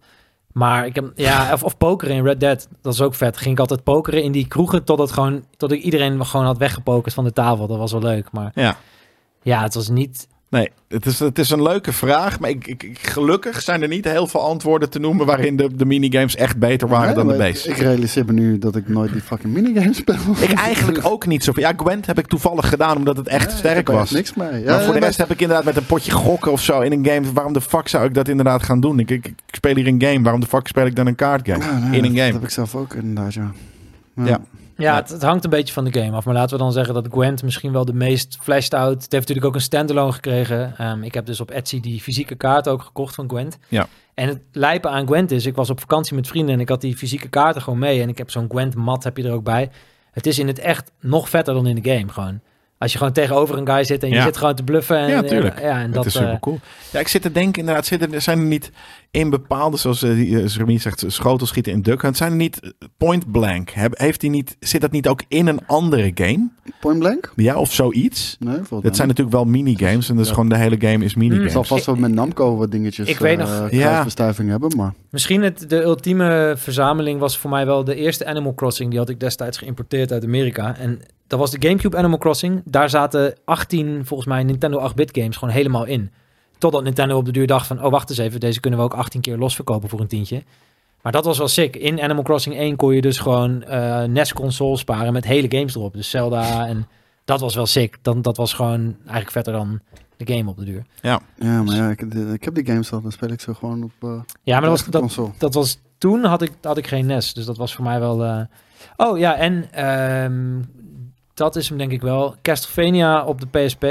S2: Maar ik heb, ja, of, of pokeren in Red Dead, dat is ook vet. Ging ik altijd pokeren in die kroegen totdat gewoon, tot ik iedereen gewoon had weggepokerd van de tafel. Dat was wel leuk. Maar
S3: Ja.
S2: ja, het was niet.
S3: Nee, het is, het is een leuke vraag. Maar ik, ik, ik- gelukkig zijn er niet heel veel antwoorden te noemen... waarin de, de minigames echt beter waren
S1: Nee,
S3: dan de
S1: maar
S3: base.
S1: Ik realiseer me nu dat ik nooit die fucking minigame speel.
S3: Ik eigenlijk ook niet zoveel. Ja, Gwent heb ik toevallig gedaan omdat het echt
S1: Ja,
S3: sterk
S1: ik heb er
S3: was.
S1: niks mee. Ja,
S3: maar voor de
S1: maar-
S3: rest heb ik inderdaad met een potje gokken of zo in een game. Waarom de fuck zou ik dat inderdaad gaan doen? Ik, ik, ik speel hier een game. Waarom de fuck speel ik dan een kaartgame?
S1: Ja, nee,
S3: in een
S1: dat- Dat
S3: game.
S1: heb ik zelf ook inderdaad, ja.
S3: Ja.
S2: Ja, het, het hangt een beetje van de game af. Maar laten we dan zeggen dat Gwent misschien wel de meest flashed out. Het heeft natuurlijk ook een standalone gekregen. Ehm, ik heb dus op Etsy die fysieke kaart ook gekocht van Gwent.
S3: Ja.
S2: En het lijpen aan Gwent is, ik was op vakantie met vrienden en ik had die fysieke kaarten gewoon mee. En ik heb zo'n Gwent mat heb je er ook bij. Het is in het echt nog vetter dan in de game gewoon. Als je gewoon tegenover een guy zit en je
S3: Ja.
S2: zit gewoon te bluffen. En,
S3: Ja, tuurlijk.
S2: Ja, en
S3: Dat
S2: dat,
S3: is
S2: eh,
S3: super cool. Ja, ik zit te denken, inderdaad, zitten, er- zijn er niet in bepaalde, zoals eh, die, eh, Remy zegt, schotel schieten in Duck Hunt, zijn er niet eh, point blank? Heb, heeft die niet, zit dat niet ook in een andere game?
S1: Point blank?
S3: Ja, of zoiets?
S1: Nee, volgens mij
S3: Dat zijn natuurlijk wel minigames en dus gewoon de hele game is
S1: Het Hmm. zal
S3: minigames.
S1: vast wel met Namco wat dingetjes
S2: Ik weet
S1: eh,
S2: nog-
S1: kruisbestuiving hebben, maar...
S2: Misschien het, de ultieme verzameling was voor mij wel de eerste Animal Crossing. Die had ik destijds geïmporteerd uit Amerika. En dat was de GameCube Animal Crossing. Daar zaten 18, volgens mij, Nintendo 8-bit games gewoon helemaal in. Totdat Nintendo op de duur dacht van... oh, wacht eens even, deze kunnen we ook 18 keer losverkopen voor een tientje. Maar dat was wel sick. In Animal Crossing 1 kon je dus gewoon eh NES-consoles sparen met hele games erop. Dus Zelda en... Dat was wel sick. Dan, dat was gewoon eigenlijk verder dan de game op de duur.
S1: Ja, maar ja, ik, ik heb die games al, dan speel ik ze gewoon op eh
S2: Ja, maar dat was,
S1: de
S2: dat,
S1: console.
S2: dat was toen had ik, had ik geen NES. Dus dat was voor mij wel. eh, Oh ja, en ehm, dat is hem denk ik wel. Castlevania op de PSP.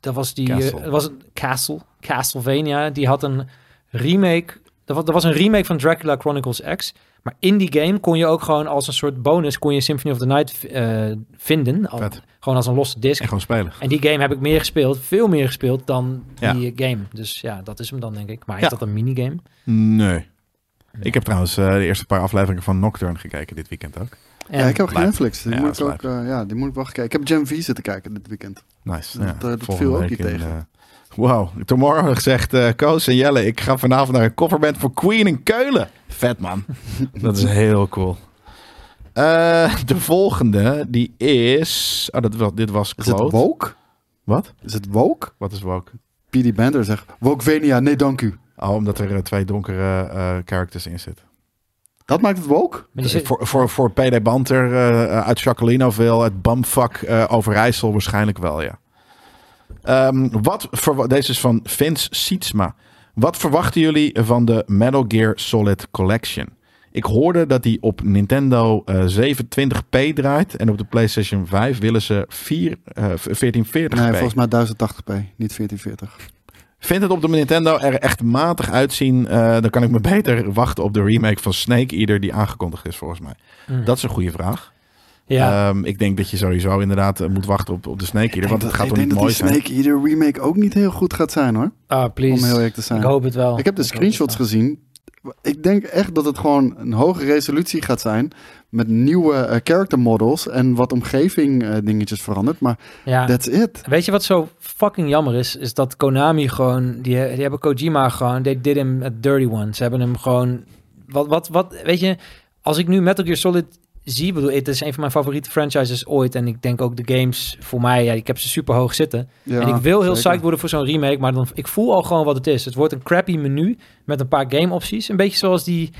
S2: Dat was die. eh,
S3: Castle.
S2: dat was een Castle. Castlevania. Die had een remake. Dat was, dat was een remake van Dracula Chronicles X. Maar in die game kon je ook gewoon als een soort bonus kon je Symphony of the Night eh, vinden. Al-
S3: Vet.
S2: gewoon als een losse disc.
S3: En gewoon spelen.
S2: En die game heb ik meer gespeeld, veel meer gespeeld dan
S3: Ja.
S2: die eh, game. Dus ja, dat is hem dan denk ik. Maar
S3: Ja.
S2: is dat een minigame?
S3: Nee. Ik heb trouwens eh, de eerste paar afleveringen van Nocturne gekeken dit weekend ook.
S2: En,
S1: ja, ik heb geen
S3: Lijp.
S1: Netflix. Die,
S3: Ja,
S1: moet ik
S3: dat
S1: ook,
S3: is
S1: eh, ja, die moet ik wel kijken. Ik heb Gen V zitten kijken dit weekend.
S3: Nice.
S1: Dat,
S3: ja,
S1: eh, dat viel
S3: volgende
S1: ook
S3: week
S1: niet
S3: in,
S1: tegen.
S3: eh, Wauw, tomorrow zegt eh Koos en Jelle, ik ga vanavond naar een coverband voor Queen in Keulen. Vet man. dat is heel cool. Eh, de volgende, die is... Oh, dat, was- dit was
S1: Is
S3: Kloot.
S1: het woke?
S3: Wat?
S1: Is het woke?
S3: Wat is woke?
S1: PD Bender zegt, Wokevania, nee dank u.
S3: Oh, omdat er eh, twee donkere eh, characters in zitten.
S1: Dat maakt het woke?
S2: Maar die zit-
S3: Voor, voor, voor PD Banter eh, uit Jacquelinoville, het Bamfak eh Overijssel waarschijnlijk wel, ja. Ehm, wat verwa- Deze is van Vince Sietsma. Wat verwachten jullie van de Metal Gear Solid Collection? Ik hoorde dat die op Nintendo eh, 720p draait en op de PlayStation 5 willen ze vier, eh, 1440p.
S1: Nee, volgens mij 1080p, niet 1440.
S3: Vindt het op de Nintendo er echt matig uitzien, eh, dan kan ik me beter wachten op de remake van Snake Eater die aangekondigd is volgens mij.
S2: Mm.
S3: Dat is een goede vraag.
S2: ja.
S1: Eh,
S3: Ehm, ik denk dat je sowieso inderdaad eh, moet wachten op, op de Snake Eater. Want het gaat
S1: ik
S3: toch niet
S1: denk
S3: mooi
S1: dat die
S3: zijn.
S1: Snake Eater remake ook niet heel goed gaat zijn hoor.
S2: Ah, please.
S1: Om heel eerlijk te zijn.
S2: ik hoop het wel.
S1: Ik heb de
S2: hoop
S1: screenshots
S2: het wel.
S1: gezien. Ik denk echt dat het gewoon een hoge resolutie gaat zijn. Met nieuwe eh, character models en wat omgeving eh, dingetjes veranderd. Maar
S2: Ja.
S1: that's it.
S2: Weet je wat zo fucking jammer is? Is dat Konami gewoon... Die, die hebben Kojima gewoon... They did him a dirty one. Ze hebben hem gewoon... Wat, wat, wat... Weet je... Als ik nu Metal Gear Solid zie, bedoel, het is een van mijn favoriete franchises ooit. En ik denk ook de games voor mij, ja, ik heb ze super hoog zitten.
S1: Ja,
S2: en ik wil heel
S1: zeker.
S2: psyched worden voor zo'n remake, maar dan, ik voel al gewoon wat het is. Het wordt een crappy menu met een paar game opties. Een beetje zoals die,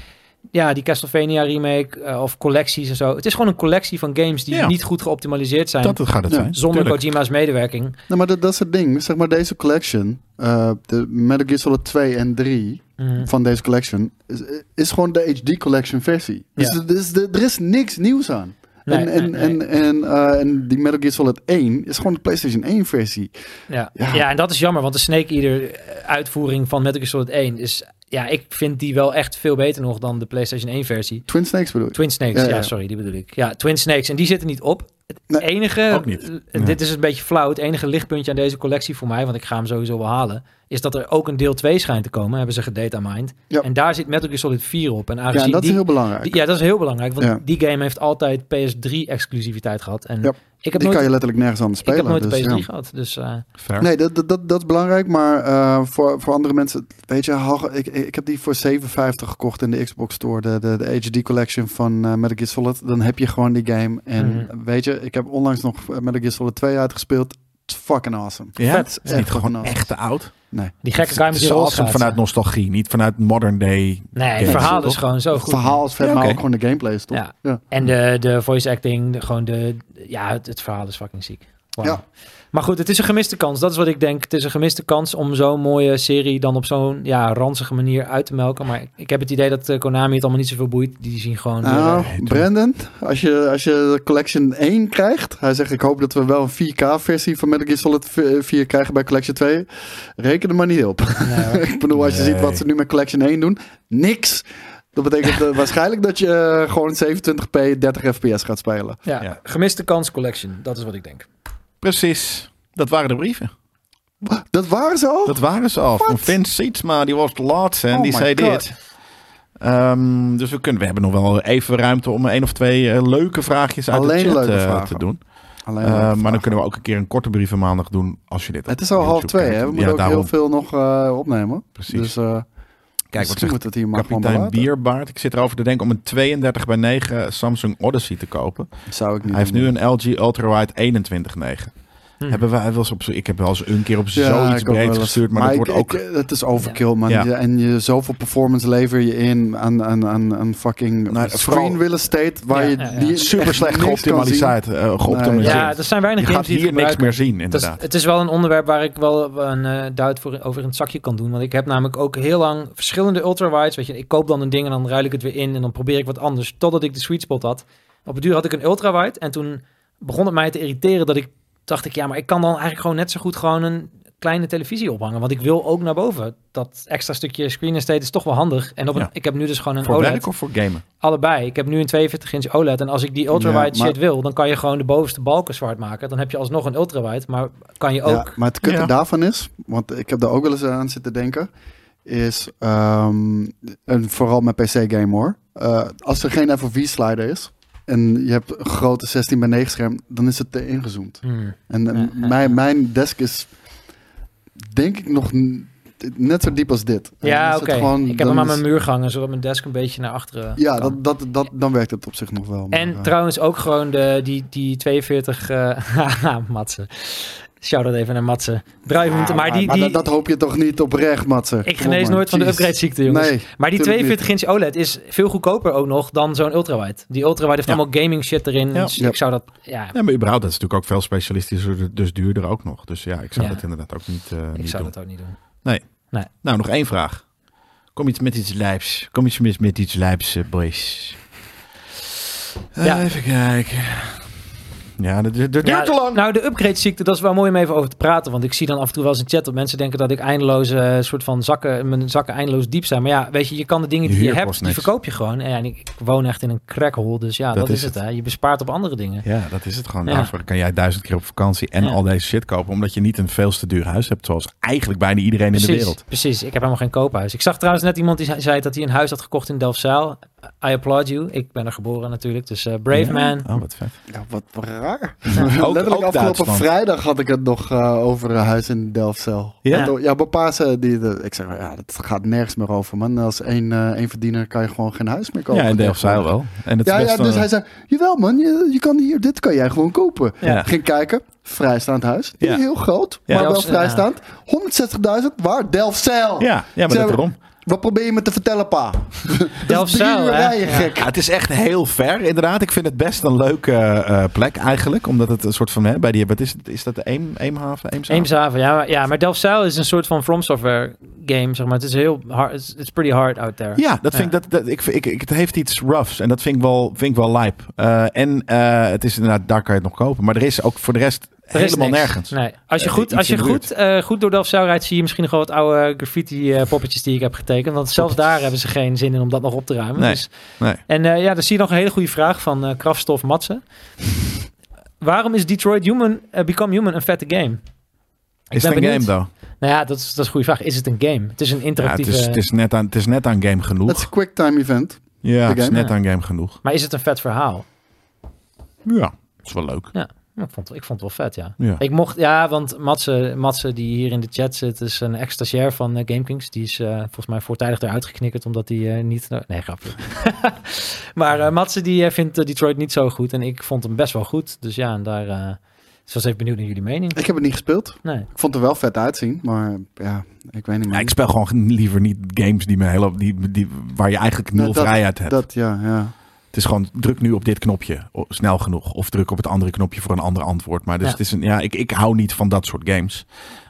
S2: ja, die Castlevania remake eh, of collecties en zo. Het is gewoon een collectie van games die
S3: Ja.
S2: niet goed geoptimaliseerd zijn.
S3: Dat gaat het
S1: Ja.
S3: zijn.
S2: zonder
S3: Tuurlijk.
S2: Kojima's medewerking.
S1: Nee, Nou, maar dat, dat is het ding. Zeg maar deze collection, eh, de Metal Gear Solid 2 en 3
S2: Mhm.
S1: van deze collection, is, is gewoon de HD collection versie. Dus
S2: Ja.
S1: er is- er is niks nieuws aan.
S2: Nee,
S1: en, en,
S2: nee, nee.
S1: En, en, eh, en die Metal Gear Solid 1 is gewoon de PlayStation 1 versie.
S2: Ja.
S1: Ja.
S2: Ja. en dat is jammer, want de Snake Eater eh, uitvoering van Metal Gear Solid 1 is... Ja, ik vind die wel echt veel beter nog dan de PlayStation 1 versie.
S1: Twin Snakes bedoel ik.
S2: Twin Snakes,
S1: Ja,
S2: ja,
S1: ja.
S2: sorry, die bedoel ik. Ja, Twin Snakes. En die zitten niet op. Het
S1: Nee,
S2: enige,
S3: ook niet.
S2: eh,
S3: Nee.
S2: dit is een beetje flauw, het enige lichtpuntje aan deze collectie voor mij, want ik ga hem sowieso wel halen, is dat er ook een deel 2 schijnt te komen, hebben ze gedatamined.
S1: Ja.
S2: En daar zit Metal Gear Solid 4 op. En
S1: Ja,
S2: aangezien
S1: en dat
S2: Ah, die,
S1: is heel belangrijk.
S2: die- ja, dat is heel belangrijk, want
S1: Ja.
S2: die game heeft altijd PS3-exclusiviteit gehad. En
S1: Ja.
S2: ik heb
S1: die
S2: nooit,
S1: kan je letterlijk nergens anders
S2: ik
S1: spelen.
S2: heb nooit de
S1: dus,
S2: PS3
S1: ja.
S2: gehad. Dus eh,
S3: Fair.
S1: Nee, dat, dat, dat, dat is belangrijk. Maar eh, voor, voor andere mensen, weet je, haal- ik, ik heb die voor 57 gekocht in de Xbox Store. De, de, de HD Collection van eh Metal Gear Solid. Dan heb je gewoon die game. En
S3: Mhm.
S1: weet je, ik heb onlangs nog eh, Metal Gear Solid 2 uitgespeeld. It's fucking awesome.
S3: Ja,
S2: Vet.
S3: het is
S1: Ja,
S3: niet
S1: fucking
S3: gewoon
S1: awesome.
S3: echt te oud.
S2: die gekke guy
S3: Het
S2: met
S3: is
S2: die
S3: awesome
S2: rolschaatsen.
S3: vanuit nostalgie, niet vanuit modern day.
S2: Nee, het
S3: games,
S2: verhaal
S3: toch?
S2: is gewoon zo
S1: Het
S2: goed.
S1: verhaal is vet,
S3: Ja,
S1: maar
S3: oké.
S1: ook gewoon de gameplay is top.
S2: Ja.
S1: Ja.
S2: En de, de voice acting, de- gewoon de... Ja, het, het verhaal is fucking ziek. Wauw.
S1: Ja.
S2: Maar goed, het is een gemiste kans. Dat is wat ik denk. Het is een gemiste kans om zo'n mooie serie dan op zo'n ja, ranzige manier uit te melken. Maar ik heb het idee dat eh, Konami het allemaal niet zoveel boeit. Die zien gewoon...
S1: Nou,
S2: eh,
S1: Brandon, als je, als je Collection 1 krijgt, hij zegt ik hoop dat we wel een 4K-versie van Metal Gear Solid 4 krijgen bij Collection 2. Reken er maar niet op.
S2: nee, hoor.
S1: ik bedoel, als je
S3: Nee.
S1: ziet wat ze nu met Collection 1 doen, niks. Dat betekent eh, waarschijnlijk dat je eh, gewoon 27p 30 fps gaat spelen.
S2: ja,
S3: Ja.
S2: gemiste kans collection. Dat is wat ik denk.
S3: Precies. Dat waren de brieven.
S1: Dat waren ze al?
S3: Dat waren ze al. Van Vince Sietsma, die was de laatste en
S1: Oh
S3: die
S1: my
S3: zei
S1: God.
S3: dit. Ehm, dus we, kunnen, we hebben nog wel even ruimte om één of twee eh, leuke vraagjes uit
S1: Alleen
S3: de chat
S1: leuke
S3: eh,
S1: vragen.
S3: te doen.
S1: Alleen
S3: Eh,
S1: maar
S3: maar dan
S1: vragen.
S3: kunnen we ook een keer een korte brieven maandag doen als je dit op
S1: Het is al
S3: YouTube
S1: half twee,
S3: kijkt.
S1: hè? We moeten
S3: ja,
S1: ook
S3: daarom.
S1: heel veel nog eh, opnemen.
S3: Precies.
S1: Dus eh
S3: Kijk, wat
S1: misschien moeten
S3: zegt
S1: we het hier maar gewoon
S3: kapitein
S1: belaten.
S3: Bierbaard. Ik zit erover te denken om een 32 bij 9 Samsung Odyssey te kopen.
S1: Zou ik niet
S3: Hij heeft
S1: doen.
S3: nu een LG Ultrawide 21 9.
S2: Hm.
S3: Hebben wij wel eens op, zo- ik heb wel eens een keer op
S1: Ja,
S3: zoiets
S1: ik ook
S3: breed
S1: wel eens.
S3: gestuurd, maar, dat
S1: ik-
S3: wordt ook
S1: ik- Het is overkill, man.
S3: Ja.
S1: Je- En je, zoveel performance lever je in aan, aan, aan, aan fucking
S3: Nou,
S1: screen
S3: vooral-
S1: real estate... waar
S2: Ja,
S1: je
S2: ja, ja.
S1: die
S3: super
S1: echt
S3: slecht
S1: niks kan zien.
S3: geoptimaliseerd. eh, geoptimaliseerd.
S2: Ja, er zijn weinig
S3: je gaat
S2: games die
S3: hier
S2: het
S3: niks
S2: gebruiken.
S3: meer zien,
S2: Het is,
S3: inderdaad.
S2: het is wel een onderwerp waar ik wel een eh duit voor over in het zakje kan doen. Want ik heb namelijk ook heel lang verschillende ultrawides. Weet je, ik koop dan een ding en dan ruil ik het weer in. En dan probeer ik wat anders. Totdat ik de sweet spot had. Op het duur had ik een ultrawide. En toen begon het mij te irriteren dat ik dacht ik, ja, maar ik kan dan eigenlijk gewoon net zo goed gewoon een kleine televisie ophangen. Want ik wil ook naar boven. Dat extra stukje screen estate is toch wel handig. En op een-
S3: Ja.
S2: ik heb nu dus gewoon een
S3: voor
S2: OLED.
S3: werk of voor gamen?
S2: Allebei. Ik heb nu een 42 inch OLED. En als ik die ultrawide
S1: Ja, maar-
S2: shit wil, dan kan je gewoon de bovenste balken zwart maken. Dan heb je alsnog een ultrawide. Maar kan je ook.
S1: Ja, maar het kutte
S3: Ja.
S1: daarvan is... want ik heb daar ook wel eens aan zitten denken... is, ehm, en vooral met PC-game hoor... eh, als er geen FOV-slider is... en je hebt een grote 16 bij 9 scherm... dan is het te ingezoomd.
S2: Hmm.
S1: En eh,
S2: Ja, ja,
S1: mijn, mijn desk is denk ik nog n- net zo diep als dit. En dan
S2: Ja,
S1: is
S2: oké.
S1: het gewoon-
S2: ik heb
S1: dan
S2: hem aan
S1: is-
S2: mijn muur gehangen, zodat mijn desk een beetje naar achteren
S1: Ja,
S2: kan.
S1: dat, dat, dat, dan werkt het op zich nog wel. maar,
S2: En
S1: eh,
S2: trouwens ook gewoon de, die, die 42... eh, haha, Matze. Shout-out even naar Matze. Draaihoend.
S1: ja,
S2: maar die...
S1: maar
S2: die
S1: dat, dat hoop je toch niet oprecht, Matze?
S2: ik
S1: Kom op,
S2: genees
S1: man.
S2: nooit van de
S1: Jeez.
S2: upgradeziekte, jongens.
S1: Nee,
S2: maar die
S1: tuurlijk
S2: 42 inch OLED is veel goedkoper ook nog dan zo'n ultrawide. Die ultrawide heeft
S3: Ja.
S2: allemaal gaming shit erin.
S3: Ja.
S2: Dus
S1: Ja.
S2: ik zou dat... Ja,
S3: Ja, maar überhaupt, dat is natuurlijk ook veel specialistischer, dus duurder ook nog. Dus ja, ik zou
S2: Ja.
S3: dat inderdaad ook niet, eh,
S2: ik
S3: niet
S2: zou
S3: doen.
S2: dat ook niet doen.
S3: Nou, nog één vraag. Kom iets met iets lijps. Kom iets mis met iets lijps, eh, boys. Eh,
S2: Ja.
S3: Even kijken. Ja, dat, dat duurt
S2: Ja,
S3: te lang.
S2: Nou, de upgradeziekte, dat is wel mooi om even over te praten. Want ik zie dan af en toe wel eens in chat dat mensen denken dat ik eindeloos eh, soort van zakken, mijn zakken eindeloos diep zijn. Maar ja, weet je, je kan de dingen
S3: De
S2: die je
S3: huur
S2: hebt,
S3: kost
S2: die
S3: niks.
S2: verkoop je gewoon. En ja, en ik, ik woon echt in een crackhole, dus ja, dat, is het. hè. Je bespaart op andere dingen.
S3: Ja, dat is het gewoon.
S2: Ja.
S3: Daarvoor kan jij duizend keer op vakantie en
S2: Ja.
S3: al deze shit kopen. Omdat je niet een veel te duur huis hebt. Zoals eigenlijk bijna iedereen in de
S2: Precies,
S3: wereld.
S2: precies. Ik heb helemaal geen koophuis. Ik zag trouwens net iemand die ze- zei dat hij een huis had gekocht in Delfzijl. I applaud you. Ik ben er geboren natuurlijk, dus eh, Brave Man.
S3: Oh, wat vet.
S1: Ja, wat raar.
S3: Ook-
S1: Letterlijk
S3: ook
S1: afgelopen
S3: Duitsland.
S1: vrijdag had ik het nog eh, over eh, huis in Delfzijl.
S3: Ja?
S1: Want, oh, Ja, bij Pasen, die, de- ik zeg, ja, dat gaat nergens meer over, man. Als één, eh, één verdiener kan je gewoon geen huis meer kopen.
S3: Ja, in Delfzijl wel. En het
S1: Ja,
S3: is
S1: ja,
S3: best
S1: dus
S3: een-
S1: hij zei, jawel man, je, je kan hier, dit kan jij gewoon kopen.
S3: Ja.
S1: Ging kijken, vrijstaand huis.
S3: Ja.
S1: Heel groot,
S3: Ja.
S1: maar wel
S2: Delfzijl,
S1: vrijstaand. 160.000, waar? Delfzijl.
S3: ja, ja, maar
S1: Ze
S3: dat
S1: hebben-
S3: erom.
S1: Wat probeer je me te vertellen, pa?
S2: Delfzijl,
S1: Drie uur
S2: hè?
S1: rijden,
S2: Ja.
S1: gek.
S3: Ja, het is echt heel ver, inderdaad. Ik vind het best een leuke eh, plek eigenlijk. Omdat het een soort van, hè, bij die, wat is, het- is dat de Eem, Eemhaven? Eemshaven?
S2: Eemshaven, ja, maar, ja, maar Delfzijl is een soort van From Software game, zeg maar. Het is heel hard, it's, it's pretty hard out there.
S3: Ja, dat vind
S2: Ja.
S3: Ik, dat, dat, ik, vind- ik, ik- het heeft iets roughs en dat vind ik wel, vind ik wel lijp. Eh, en eh, het is inderdaad, daar kan je het nog kopen. Maar er is ook voor de rest
S2: Er is
S3: helemaal
S2: niks.
S3: nergens.
S2: Nee. Als je
S3: Eh,
S2: goed,
S3: iets
S2: als
S3: in
S2: je
S3: de
S2: goed, eh, goed door Delfzijl rijdt, zie je misschien nog wel wat oude eh, graffiti-poppetjes die ik heb getekend. Want zelfs daar hebben ze geen zin in om dat nog op te ruimen.
S3: Nee,
S2: Dus-
S3: nee.
S2: En eh, ja, dan zie je nog een hele goede vraag van eh Krafstof Matsen. Waarom is Detroit Human, eh, Become Human een vette game?
S3: Is
S2: ben
S3: het een
S2: benieuwd.
S3: game, though?
S2: Nou ja, dat is, dat is een goede vraag. Is het een game? Het is een
S3: Ja, het,
S2: interactieve...
S3: is, het, is net aan, het is net aan game
S1: Dat is
S3: genoeg.
S1: een quicktime event.
S3: Ja, het
S1: de
S3: is
S1: game.
S3: net aan game genoeg.
S2: Maar is het een vet verhaal?
S3: Ja, dat is wel leuk.
S2: Hm, Ik vond, ik vond het wel vet, ja.
S3: Ja.
S2: Ik mocht, ja, want Matze, Matze die hier in de chat zit, is een ex-stagiair van eh, GameKings. Die is eh, volgens mij voortijdig eruit geknikkerd, omdat hij eh, niet... Nee, grapje. maar eh Matze die eh, vindt eh, Detroit niet zo goed en ik vond hem best wel goed. Dus ja, en daar... eh dus ik was even benieuwd naar jullie mening.
S1: Ik heb het niet gespeeld.
S2: Nee.
S1: Ik vond het er wel vet uitzien, maar ja, ik weet niet
S3: Ja,
S1: meer.
S3: ik speel gewoon liever niet games die me heel, die, die, waar je eigenlijk nul
S1: Nou, dat-
S3: vrijheid hebt.
S1: dat, ja, ja.
S3: Het is gewoon druk nu op dit knopje o- snel genoeg. Of druk op het andere knopje voor een ander antwoord. Maar dus
S2: Ja.
S3: het is een, ja, ik, ik hou niet van dat soort games.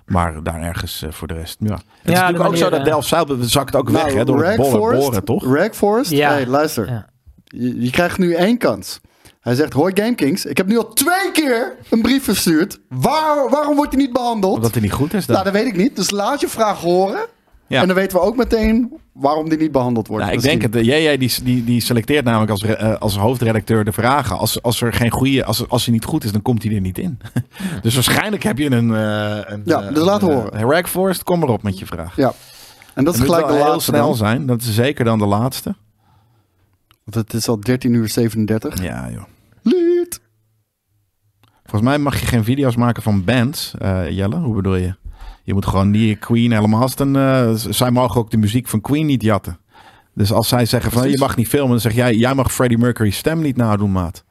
S3: Maar daar ergens eh, voor de rest. Ja. Het is natuurlijk
S2: de
S3: ook zo
S2: manier,
S3: dat
S2: eh,
S3: Delft Zuil zakt ook
S1: Nou,
S3: weg hè, door het
S1: Rag
S3: bollen,
S1: Forest-
S3: boren, toch?
S1: Rag Forest,
S2: Ja.
S1: hey, luister.
S2: Ja.
S1: Je, je krijgt nu één kans. Hij zegt, hoi GameKings, ik heb nu al twee keer een brief verstuurd. Waar, waarom wordt hij niet behandeld?
S3: Omdat het niet goed is. Dan.
S1: Nou, dat weet ik niet. Dus laat je vraag horen.
S3: Ja.
S1: En dan weten we ook meteen waarom die niet behandeld wordt.
S3: Ja, ik
S1: Misschien.
S3: denk het. eh, JJ die, die, die selecteert namelijk als, re- eh, als hoofdredacteur de vragen. Als, als er geen goede, als, als hij niet goed is, dan komt hij er niet in. dus waarschijnlijk heb je een. eh, een
S1: Ja,
S3: eh,
S1: dus laat
S3: een, eh,
S1: horen.
S3: Rag Forest, kom erop met je vraag.
S1: Ja. En dat is
S3: Het moet
S1: gelijk de
S3: wel heel
S1: laatste
S3: snel
S1: dan.
S3: zijn. Dat is zeker dan de laatste.
S1: Want het is al 13 uur 37.
S3: Ja, joh.
S1: Lied.
S3: Volgens mij mag je geen video's maken van bands, eh, Jelle. Hoe bedoel je? Je moet gewoon die Queen helemaal... als het een, eh, z- zij mogen ook de muziek van Queen niet jatten. Dus als zij zeggen van
S1: Precies.
S3: je mag niet filmen, dan zeg jij... jij mag Freddie Mercury's stem niet nadoen, maat.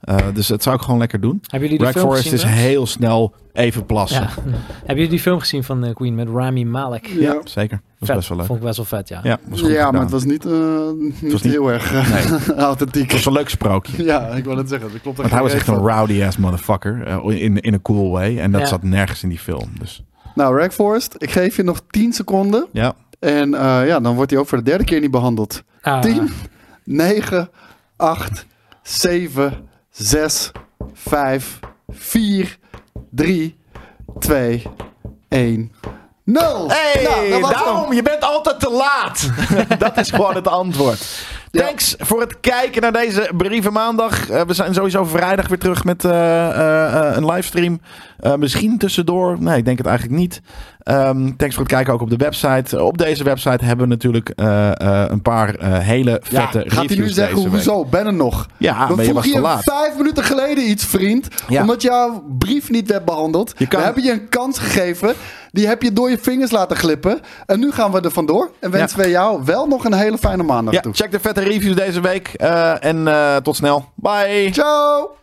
S3: Eh, dus dat zou ik gewoon lekker doen.
S2: Hebben jullie die
S3: Black
S2: film
S3: Forest
S2: gezien?
S3: is
S2: trouwens?
S3: heel snel even plassen.
S2: Ja.
S3: Ja,
S2: Hebben jullie die film gezien van eh, Queen met Rami Malek?
S1: Ja,
S3: zeker. Dat was
S2: Vet.
S3: best wel leuk.
S2: Vond ik best wel vet, ja.
S3: Ja, was goed
S1: ja
S3: gedaan.
S1: maar het was niet, eh, niet
S3: was niet-
S1: heel erg eh,
S3: Nee, het
S1: authentiek.
S3: was een leuk sprookje.
S1: Ja, ik wil het zeggen. Dat klopt
S3: Want hij was
S1: geen
S3: echt een
S1: reet
S3: rowdy-ass motherfucker. eh, in, in een cool way. En dat
S2: Ja.
S3: zat nergens in die film. Dus
S1: van. Nou, Rag Forest, ik geef je nog 10 seconden.
S3: ja,
S1: En eh, ja, dan wordt hij ook voor de derde keer niet behandeld.
S2: Ah,
S1: 10, 9, 8, 7, 6, 5, 4, 3, 2, 1, 0.
S3: Hey,
S1: Nou, dat was
S3: daarom,
S1: hem.
S3: je bent altijd te laat. dat is gewoon het antwoord.
S1: Ja.
S3: Thanks voor het kijken naar deze brieven maandag. Eh, we zijn sowieso vrijdag weer terug met eh, eh, eh, een livestream. Eh, misschien tussendoor. Nee, ik denk het eigenlijk niet. Ehm, thanks voor het kijken ook op de website. Eh, op deze website hebben we natuurlijk eh, eh, een paar eh, hele
S1: Ja,
S3: vette reviews
S1: gaat hij nu zeggen,
S3: deze week.
S1: hoezo, ben er nog?
S3: Ja, ah,
S1: We
S3: maar je was
S1: vroegen
S3: te
S1: je
S3: laat.
S1: vijf minuten geleden iets, vriend.
S3: Ja.
S1: Omdat jouw brief niet werd behandeld.
S3: Je kan-
S1: We hebben je een kans gegeven. Die heb je door je vingers laten glippen. En nu gaan we er vandoor. En wensen we jou wel nog een hele fijne maandag
S3: Ja,
S1: toe.
S3: check de vette reviews deze week. Eh, en eh, tot snel. Bye.
S1: Ciao!